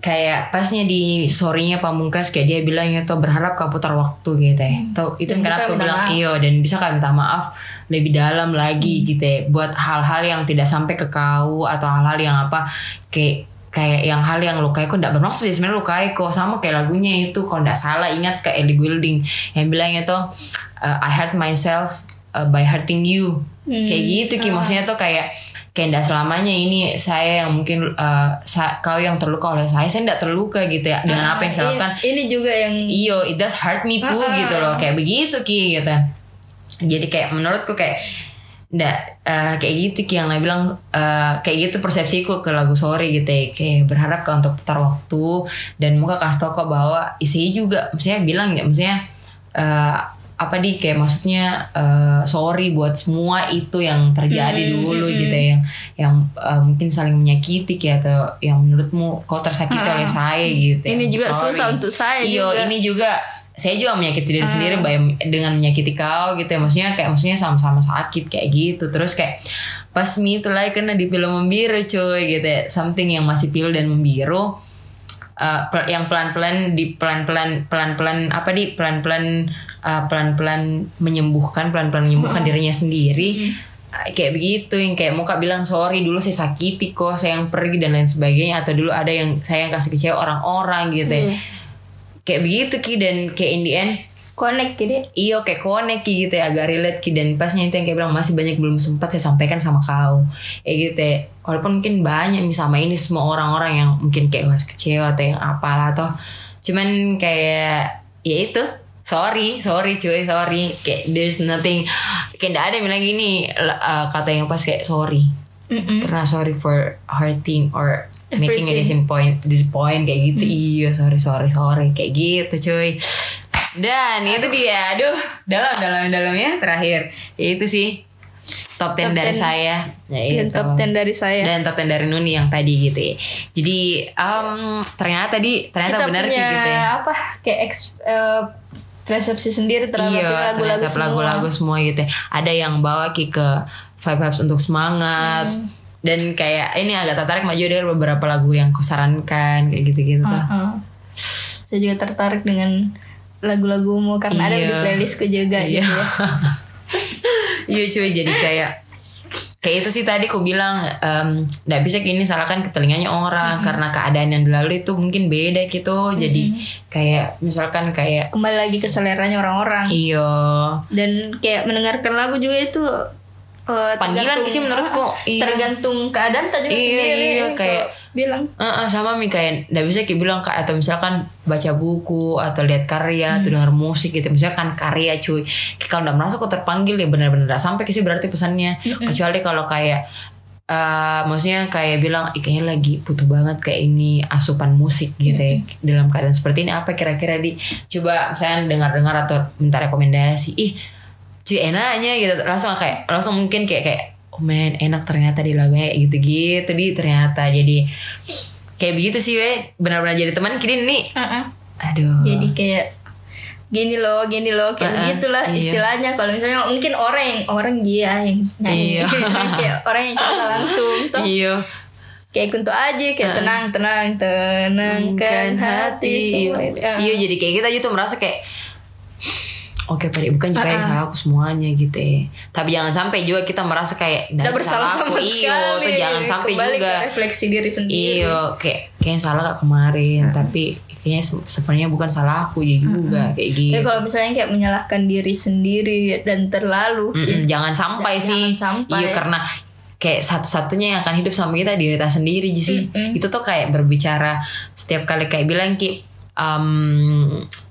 Speaker 3: kayak pasnya di sorenya pamungkas kayak dia bilangnya tuh berharap kau putar waktu gitu ya. Tuh, itu
Speaker 2: Dan
Speaker 3: kenapa
Speaker 2: bisa
Speaker 3: aku
Speaker 2: minta
Speaker 3: bilang
Speaker 2: maaf.
Speaker 3: iyo dan bisa kan minta maaf lebih dalam lagi gitu ya buat hal-hal yang tidak sampai ke kau atau hal-hal yang apa kayak kayak yang hal yang lukai kok tidak bermaksud sih sebenarnya lukai kok sama kayak lagunya itu kalau tidak salah ingat ke Ellie Goulding yang bilangnya tuh "Uh, I hurt myself uh, by hurting you kayak gitu Ki. maksudnya tuh kayak kayak enggak selamanya ini saya yang mungkin uh, sa- kau yang terluka oleh saya saya tidak terluka gitu ya dengan apa yang saya lakukan
Speaker 2: Iya, ini juga yang
Speaker 3: iyo Iya, it does hurt me too
Speaker 2: Iya, Ah, ah,
Speaker 3: gitu loh kayak begitu ki gitu jadi kayak menurutku kayak ndak eh, kayak gitu ki yang Naya bilang eh, kayak gitu persepsiku ke lagu sorry gitu ya kayak berharap kau untuk putar waktu dan muka kasih tau kau bahwa isi juga maksudnya bilang ya maksudnya eh, apa di kayak maksudnya eh, sorry buat semua itu yang terjadi
Speaker 2: Hmm,
Speaker 3: dulu gitu ya yang yang eh, mungkin saling menyakiti kayak atau yang menurutmu kau tersakiti oleh saya gitu ya.
Speaker 2: Ah, Ini juga
Speaker 3: Sorry.
Speaker 2: susah untuk saya
Speaker 3: Iyo,
Speaker 2: juga.
Speaker 3: Iya,
Speaker 2: Ah.
Speaker 3: ini juga saya juga menyakiti diri sendiri by- dengan menyakiti kau gitu ya maksudnya kayak maksudnya sama-sama sakit kayak gitu terus kayak pas me itu lagi kena di film membiru cuy gitu ya something yang masih pilu dan membiru eh, pel- yang pelan-pelan di pelan-pelan pelan-pelan apa di pelan-pelan eh, pelan-pelan menyembuhkan pelan-pelan menyembuhkan dirinya sendiri Eh, kayak begitu yang kayak muka bilang sorry dulu saya sakiti kok saya yang pergi dan lain sebagainya atau dulu ada yang saya yang kasih kecewa orang-orang gitu ya
Speaker 2: Mm.
Speaker 3: kayak begitu ki dan kayak in the end
Speaker 2: connect jadi
Speaker 3: iyo kayak connect Ki, gitu ya agak relate ki dan pasnya itu yang kayak bilang masih banyak belum sempat saya sampaikan sama kau kayak gitu ya walaupun mungkin banyak nih sama ini semua orang-orang yang mungkin kayak masih kecewa atau yang apalah atau cuman kayak ya itu sorry sorry cuy sorry kayak there's nothing kayak gak ada yang bilang gini l- uh, kata yang pas kayak sorry
Speaker 2: Mm-mm.
Speaker 3: pernah sorry for hurting or making a disappoint disappoint kayak gitu
Speaker 2: Mm-hmm.
Speaker 3: iya sorry sorry sorry kayak gitu cuy dan itu dia aduh dalam dalam dalamnya terakhir ya itu sih top 10
Speaker 2: Top
Speaker 3: dari
Speaker 2: 10.
Speaker 3: saya ya
Speaker 2: dan
Speaker 3: itu.
Speaker 2: top ya. 10 dari saya
Speaker 3: dan top 10 dari Nuni yang tadi gitu ya jadi em, ternyata tadi ternyata
Speaker 2: kita
Speaker 3: benar
Speaker 2: punya
Speaker 3: gitu ya
Speaker 2: apa kayak eks- eh, persepsi sendiri terhadap
Speaker 3: iya,
Speaker 2: lagu-lagu
Speaker 3: ternyata
Speaker 2: semua
Speaker 3: lagu-lagu semua gitu ya. Ada yang bawa Ki ke Five Vibes untuk semangat.
Speaker 2: Hmm.
Speaker 3: Dan kayak ini agak tertarik maju dari beberapa lagu yang kusarankan kayak gitu-gitu tuh.
Speaker 2: Heeh. saya juga tertarik dengan lagu-lagumu karena ada di
Speaker 3: Iya.
Speaker 2: playlistku juga
Speaker 3: Iya.
Speaker 2: gitu ya.
Speaker 3: Iya cuy, jadi kayak kayak itu sih tadi aku bilang em, nggak bisa gini salahkan ke telinganya
Speaker 2: Hmm.
Speaker 3: orang karena keadaan yang dilalui itu mungkin beda gitu. Jadi kayak misalkan kayak iya.
Speaker 2: kembali lagi ke seleranya orang-orang
Speaker 3: iyo
Speaker 2: dan kayak mendengarkan lagu juga itu eh,
Speaker 3: Panggilan
Speaker 2: tergantung- ah,
Speaker 3: sih menurutku, iya.
Speaker 2: tergantung keadaan tak juga
Speaker 3: Iya,
Speaker 2: sendiri
Speaker 3: iya,
Speaker 2: kok
Speaker 3: kayak-
Speaker 2: bilang
Speaker 3: Heeh, sama Mi kayak nggak bisa kayak bilang kayak atau misalkan baca buku atau lihat karya atau dengar musik gitu misalkan karya cuy Kayak kalau nggak merasa kok terpanggil ya benar-benar nggak sampai ke sih berarti pesannya kecuali kalau kayak eh maksudnya kayak bilang "Ih, kayaknya lagi butuh banget kayak ini asupan musik gitu ya dalam keadaan seperti ini apa kira-kira di coba misalnya dengar-dengar atau minta rekomendasi ih cuy enaknya gitu langsung kayak langsung mungkin kayak kayak oh man enak ternyata di lagunya kayak gitu gitu di ternyata jadi kayak begitu sih we benar-benar jadi teman kini nih
Speaker 2: "Ah, ah."
Speaker 3: aduh
Speaker 2: jadi kayak gini loh gini loh kayak
Speaker 3: Heeh,
Speaker 2: gitulah
Speaker 3: iya.
Speaker 2: istilahnya kalau misalnya mungkin orang yang orang dia yang nyanyi
Speaker 3: Iya.
Speaker 2: kayak orang yang cerita langsung toh
Speaker 3: iyo
Speaker 2: kayak kuntu aja kayak tenang tenang tenangkan hati
Speaker 3: iyo
Speaker 2: semua ini. Ah.
Speaker 3: Iyo, Iya, jadi kayak kita aja tuh merasa kayak Oke, Pari, bukan juga yang salah aku semuanya gitu ya. Tapi jangan sampai juga kita merasa kayak
Speaker 2: Nggak
Speaker 3: "Nggak
Speaker 2: bersalah
Speaker 3: salah aku."
Speaker 2: sama
Speaker 3: Iyo,
Speaker 2: sekali Iya, ya.
Speaker 3: tuh jangan sampai
Speaker 2: Kembali
Speaker 3: juga.
Speaker 2: ke refleksi diri sendiri
Speaker 3: Iya, kayak kayaknya salah kak kemarin, tapi kayaknya se- sebenarnya bukan salah aku ya juga kayak gitu.
Speaker 2: Tapi kalau misalnya kayak menyalahkan diri sendiri dan terlalu
Speaker 3: Mm-mm,
Speaker 2: gitu.
Speaker 3: jangan sampai
Speaker 2: Jangan
Speaker 3: sih.
Speaker 2: sampai.
Speaker 3: Iya, karena kayak satu-satunya yang akan hidup sama kita diri kita sendiri sih.
Speaker 2: Mm-mm.
Speaker 3: Itu tuh kayak berbicara setiap kali kayak bilang ki em,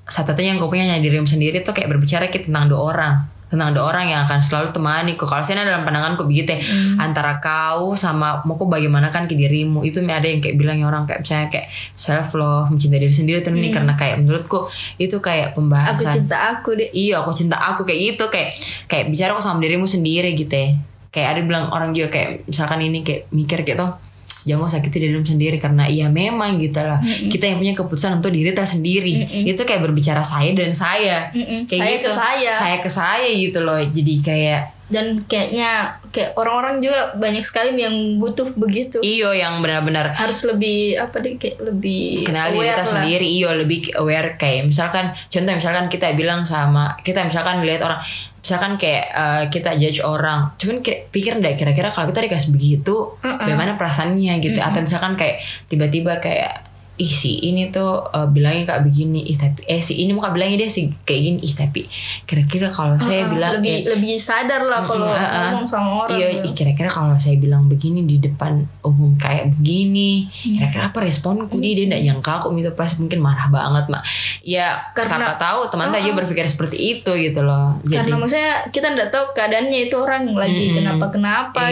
Speaker 3: satu-satunya yang kau punya hanya dirimu sendiri tuh kayak berbicara ki tentang dua orang. tentang ada orang yang akan selalu temani kok kalau saya dalam pandanganku begitu ya
Speaker 2: Mm.
Speaker 3: antara kau sama mau kau bagaimana kan ke dirimu itu ada yang kayak bilang ya orang kayak misalnya kayak self love mencintai diri sendiri tuh nih karena kayak menurutku itu kayak
Speaker 2: Mm. aku
Speaker 3: pembahasan
Speaker 2: cinta aku deh
Speaker 3: iya aku cinta aku kayak gitu kayak kayak bicara kok sama dirimu sendiri gitu ya kayak ada bilang orang juga kayak misalkan ini kayak mikir kayak toh jangan kau sakiti dirimu sendiri karena iya memang gitu lah kita yang punya keputusan untuk diri kita sendiri itu kayak berbicara saya dan saya
Speaker 2: Mm-mm.
Speaker 3: kayak
Speaker 2: Saya
Speaker 3: gitu
Speaker 2: ke saya.
Speaker 3: saya ke saya gitu loh jadi kayak
Speaker 2: dan kayaknya kayak orang-orang juga banyak sekali yang butuh begitu
Speaker 3: iyo yang benar-benar
Speaker 2: harus lebih apa deh kayak lebih
Speaker 3: kenal diri kita
Speaker 2: aware lah.
Speaker 3: sendiri iyo lebih aware kayak misalkan contoh misalkan kita bilang sama kita misalkan lihat orang misalkan kayak eh, kita judge orang cuman kayak pikir ndak kira-kira kalau kita dikasih begitu bagaimana perasaannya gitu atau misalkan kayak tiba-tiba kayak ih si ini tuh eh, bilangnya kayak begini ih tapi eh si ini muka bilangnya dia si kayak gini ih tapi kira-kira kalau saya
Speaker 2: Ah,
Speaker 3: bilang eh,
Speaker 2: lebih lebih sadar lah kalau
Speaker 3: Mm, ah, ah.
Speaker 2: ngomong sama orang
Speaker 3: Iya,
Speaker 2: gitu.
Speaker 3: ih, kira-kira kalau saya bilang begini di depan umum kayak begini,
Speaker 2: Iya.
Speaker 3: kira-kira apa responku dia? Dia nggak nyangka aku itu pas mungkin marah banget mak. Ya,
Speaker 2: Karena-
Speaker 3: siapa tahu teman saya berpikir seperti itu gitu loh. Jadi,
Speaker 2: karena maksudnya kita nggak tahu keadaannya itu orang lagi kenapa kenapa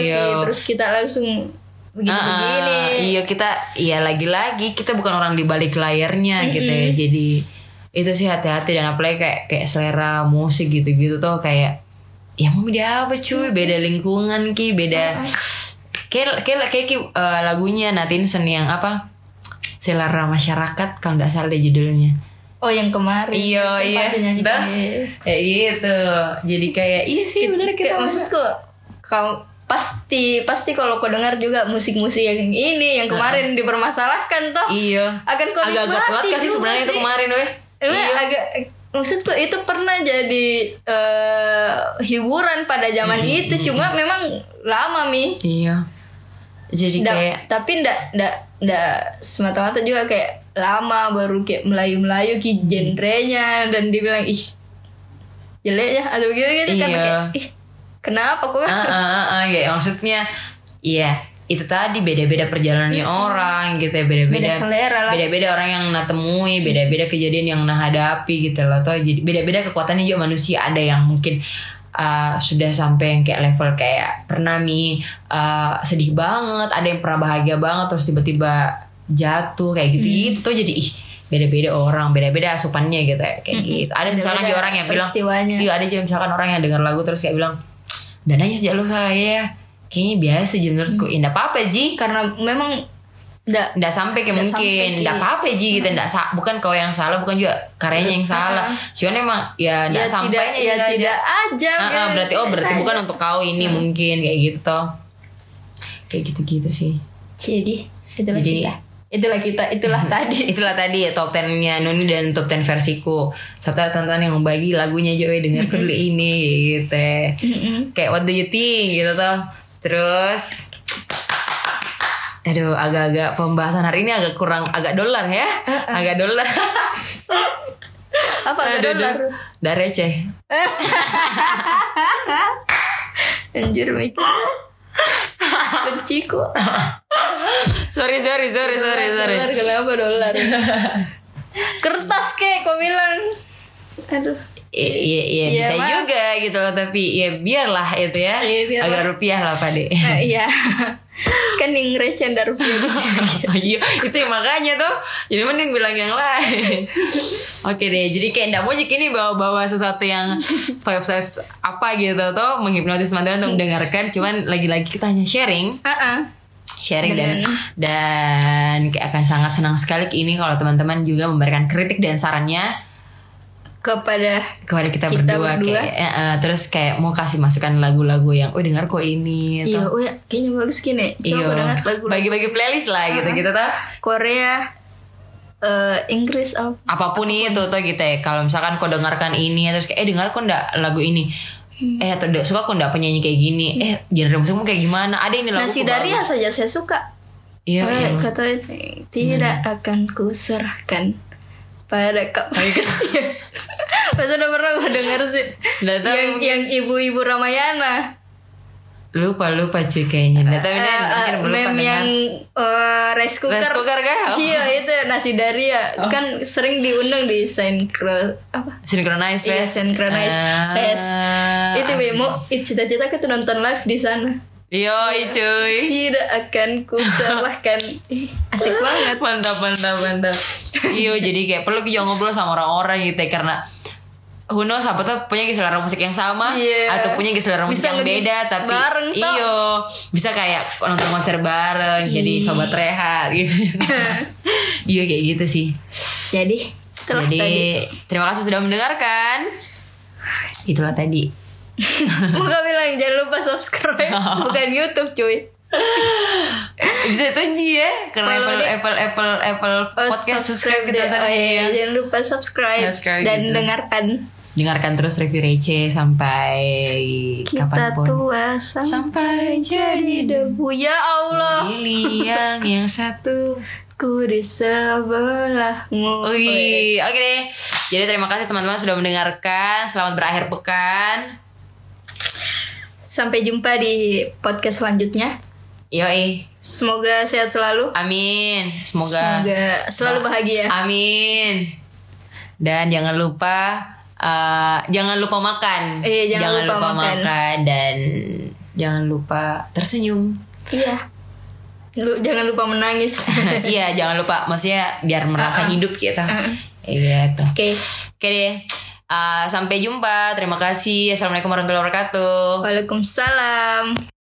Speaker 3: Iya.
Speaker 2: gitu terus kita langsung begini begini
Speaker 3: Ah, iya kita, iya lagi-lagi kita bukan orang di balik layarnya gitu ya. Jadi itu sih hati-hati dan apalagi kayak kayak selera musik gitu-gitu tuh kayak ya mau beda apa cuy beda lingkungan ki beda kayak kayak kayak, kayak, eh, lagunya Natinson yang apa selera masyarakat kalau nggak salah deh judulnya
Speaker 2: oh yang kemarin
Speaker 3: Iya,
Speaker 2: sempat
Speaker 3: iya.
Speaker 2: dinyanyikan.
Speaker 3: Dah.
Speaker 2: Iya.
Speaker 3: kayak gitu jadi kayak iya sih bener
Speaker 2: Kayak
Speaker 3: kita
Speaker 2: maksudku kau pasti pasti kalau kau dengar juga musik-musik yang ini yang kemarin dipermasalahkan toh
Speaker 3: Nah, ah. iya
Speaker 2: akan kau
Speaker 3: agak-agak telat
Speaker 2: nikmati
Speaker 3: kasih
Speaker 2: juga
Speaker 3: sebenarnya itu
Speaker 2: sih.
Speaker 3: kemarin weh
Speaker 2: Emang agak maksudku itu pernah jadi eh, hiburan pada zaman
Speaker 3: Mm-hmm.
Speaker 2: itu cuma memang lama mi
Speaker 3: iya jadi
Speaker 2: Nda-
Speaker 3: Iya, kayak
Speaker 2: tapi ndak ndak ndak semata-mata juga kayak lama baru kayak melayu-melayu
Speaker 3: Mm-hmm.
Speaker 2: ki genrenya dan dibilang ih jeleknya atau gitu gitu kan
Speaker 3: Iya.
Speaker 2: kayak ih kenapa kok
Speaker 3: ah ah, ah, ah, ya maksudnya iya itu tadi beda-beda perjalanannya orang gitu ya beda-beda
Speaker 2: Beda selera lah.
Speaker 3: beda-beda orang yang nah temui beda-beda kejadian yang nah hadapi gitu loh tuh jadi beda-beda kekuatannya juga manusia ada yang mungkin ah, sudah sampai yang kayak level kayak pernah mi ah, sedih banget ada yang pernah bahagia banget terus tiba-tiba jatuh kayak
Speaker 2: Hmm.
Speaker 3: gitu gitu tuh jadi ih beda-beda orang beda-beda asupannya gitu ya kayak gitu ada misalnya
Speaker 2: Hmm. Beda-beda
Speaker 3: juga orang yang bilang
Speaker 2: peristiwanya.
Speaker 3: iya ada juga misalkan orang yang dengar lagu terus kayak bilang dan nangis aja lu saya kayaknya biasa aja menurutku
Speaker 2: Hmm.
Speaker 3: Ih, nggak apa-apa Ji
Speaker 2: karena memang ndak
Speaker 3: nggak sampai kayak
Speaker 2: Nggak
Speaker 3: mungkin
Speaker 2: sampai, Ki.
Speaker 3: nggak apa-apa Ji gitu nggak sa- bukan kau yang salah bukan juga karyanya yang salah cuman emang ya
Speaker 2: ya
Speaker 3: nggak sampai
Speaker 2: tidak ya
Speaker 3: gitu aja.
Speaker 2: tidak aja
Speaker 3: Ah, ah,
Speaker 2: gitu.
Speaker 3: berarti oh berarti
Speaker 2: Saja.
Speaker 3: bukan untuk kau ini mungkin kayak gitu toh kayak gitu-gitu sih
Speaker 2: jadi itulah
Speaker 3: Jadi-
Speaker 2: kita itulah kita itulah tadi
Speaker 3: Itulah tadi ya top 10-nya Nuni dan top 10 versiku. Sabtu teman-teman yang bagi lagunya Joey dengar dulu ini gitu. ya. Kayak what do you think gitu tuh. Terus Aduh, agak-agak pembahasan hari ini agak kurang, agak dolar ya, agak dolar.
Speaker 2: apa
Speaker 3: Aduh,
Speaker 2: dolar
Speaker 3: aduh. Udah receh.
Speaker 2: anjir Mika benci kok
Speaker 3: Sorry, sorry, sorry, sorry, sorry.
Speaker 2: dolar kenapa dolar kertas kek kau bilang aduh
Speaker 3: I- Iya, iya,
Speaker 2: Iya,
Speaker 3: bisa
Speaker 2: maaf.
Speaker 3: juga gitu loh, tapi ya biarlah itu ya.
Speaker 2: Iya, biarlah.
Speaker 3: Agak rupiah lah, Pak De.
Speaker 2: Eh, iya kan yang receh ndak rupiah gitu.
Speaker 3: Oh, iya itu yang makanya tuh jadi mending bilang yang lain oke deh jadi kayak ndak mojik ini bawa-bawa sesuatu yang vibes vibes apa gitu tuh menghipnotis teman-teman untuk mendengarkan cuman lagi-lagi kita hanya sharing
Speaker 2: Ah, ah.
Speaker 3: sharing dan dan kayak akan sangat senang sekali ini kalau teman-teman juga memberikan kritik dan sarannya
Speaker 2: kepada
Speaker 3: kepada kita,
Speaker 2: Kita
Speaker 3: berdua,
Speaker 2: berdua.
Speaker 3: kayak eh, eh, terus kayak mau kasih masukan lagu-lagu yang oh dengar kok ini
Speaker 2: iya
Speaker 3: atau,
Speaker 2: oh ya, kayaknya bagus gini coba kau
Speaker 3: iyo.
Speaker 2: dengar lagu
Speaker 3: bagi-bagi playlist lah gitu, gitu-gitu tuh
Speaker 2: Korea eh, Inggris apa
Speaker 3: apapun itu tuh gitu ya kalau misalkan kau dengarkan ini terus kayak eh dengar kok ndak lagu ini
Speaker 2: Hmm.
Speaker 3: eh atau ndak suka kok ndak penyanyi kayak gini eh genre musikmu kayak gimana ada ini lagu
Speaker 2: Iya.
Speaker 3: ku
Speaker 2: Nasi Daria
Speaker 3: bagus.
Speaker 2: saja saya suka.
Speaker 3: iya
Speaker 2: Eh,
Speaker 3: iya Hmm.
Speaker 2: kata tidak akan kuserahkan pada kau.
Speaker 3: kan
Speaker 2: Masa udah pernah gue denger sih
Speaker 3: Nggak tahu
Speaker 2: yang,
Speaker 3: mungkin.
Speaker 2: yang ibu-ibu Ramayana
Speaker 3: lupa lupa cuy kayaknya nah, tapi dia
Speaker 2: Eh,
Speaker 3: mungkin kan.
Speaker 2: eh,
Speaker 3: belum
Speaker 2: meme
Speaker 3: pernah
Speaker 2: yang
Speaker 3: dengar.
Speaker 2: eh, rice cooker
Speaker 3: Rice cooker kah? Oh.
Speaker 2: iya itu nasi daria kan sering diundang di sinkro apa
Speaker 3: synchronize
Speaker 2: Iya,
Speaker 3: Fest.
Speaker 2: Synchronize
Speaker 3: Ah,
Speaker 2: Fest. itu memo cita-cita tuh nonton live di sana
Speaker 3: yoi cuy
Speaker 2: tidak akan ku salahkan Ih, asik banget
Speaker 3: mantap mantap mantap iya jadi kayak perlu juga ngobrol sama orang-orang gitu ya, karena who knows apa tuh punya selera musik yang sama
Speaker 2: Iya.
Speaker 3: atau punya selera musik
Speaker 2: Bisa
Speaker 3: yang
Speaker 2: nge-dis
Speaker 3: beda tapi
Speaker 2: bareng, tau.
Speaker 3: iyo bisa kayak nonton konser bareng jadi
Speaker 2: Iya.
Speaker 3: sobat rehat gitu iya kayak gitu sih
Speaker 2: jadi itulah
Speaker 3: jadi
Speaker 2: tadi
Speaker 3: terima kasih sudah mendengarkan itulah tadi
Speaker 2: Muka bilang jangan lupa subscribe bukan YouTube cuy
Speaker 3: bisa tunji ya karena
Speaker 2: Follow
Speaker 3: Apple,
Speaker 2: deh.
Speaker 3: Apple Apple Apple
Speaker 2: Oh,
Speaker 3: podcast subscribe gitu
Speaker 2: deh.
Speaker 3: rasanya,
Speaker 2: oh, iya.
Speaker 3: ya.
Speaker 2: jangan lupa subscribe,
Speaker 3: Subscribe
Speaker 2: dan
Speaker 3: gitu.
Speaker 2: dengarkan
Speaker 3: dengarkan terus review receh sampai
Speaker 2: kita
Speaker 3: kapanpun
Speaker 2: tua sampai
Speaker 3: sampai Iya. jadi
Speaker 2: debu ya Allah
Speaker 3: yang yang satu
Speaker 2: ku di sebelahmu
Speaker 3: Oke, oke deh. Jadi terima kasih teman-teman sudah mendengarkan. Selamat berakhir pekan.
Speaker 2: sampai jumpa di podcast selanjutnya
Speaker 3: Yoi,
Speaker 2: semoga sehat selalu
Speaker 3: amin. Semoga,
Speaker 2: semoga selalu bahagia
Speaker 3: amin. Dan jangan lupa, eh, jangan lupa makan.
Speaker 2: Iya, jangan lupa makan.
Speaker 3: dan jangan lupa tersenyum.
Speaker 2: iya lu jangan lupa menangis oke
Speaker 3: Iya, jangan lupa. Maksudnya biar merasa hidup gitu. Iya, tuh. Oke deh. uh, Ah, sampai jumpa. Terima kasih. Assalamualaikum warahmatullahi wabarakatuh.
Speaker 2: waalaikumsalam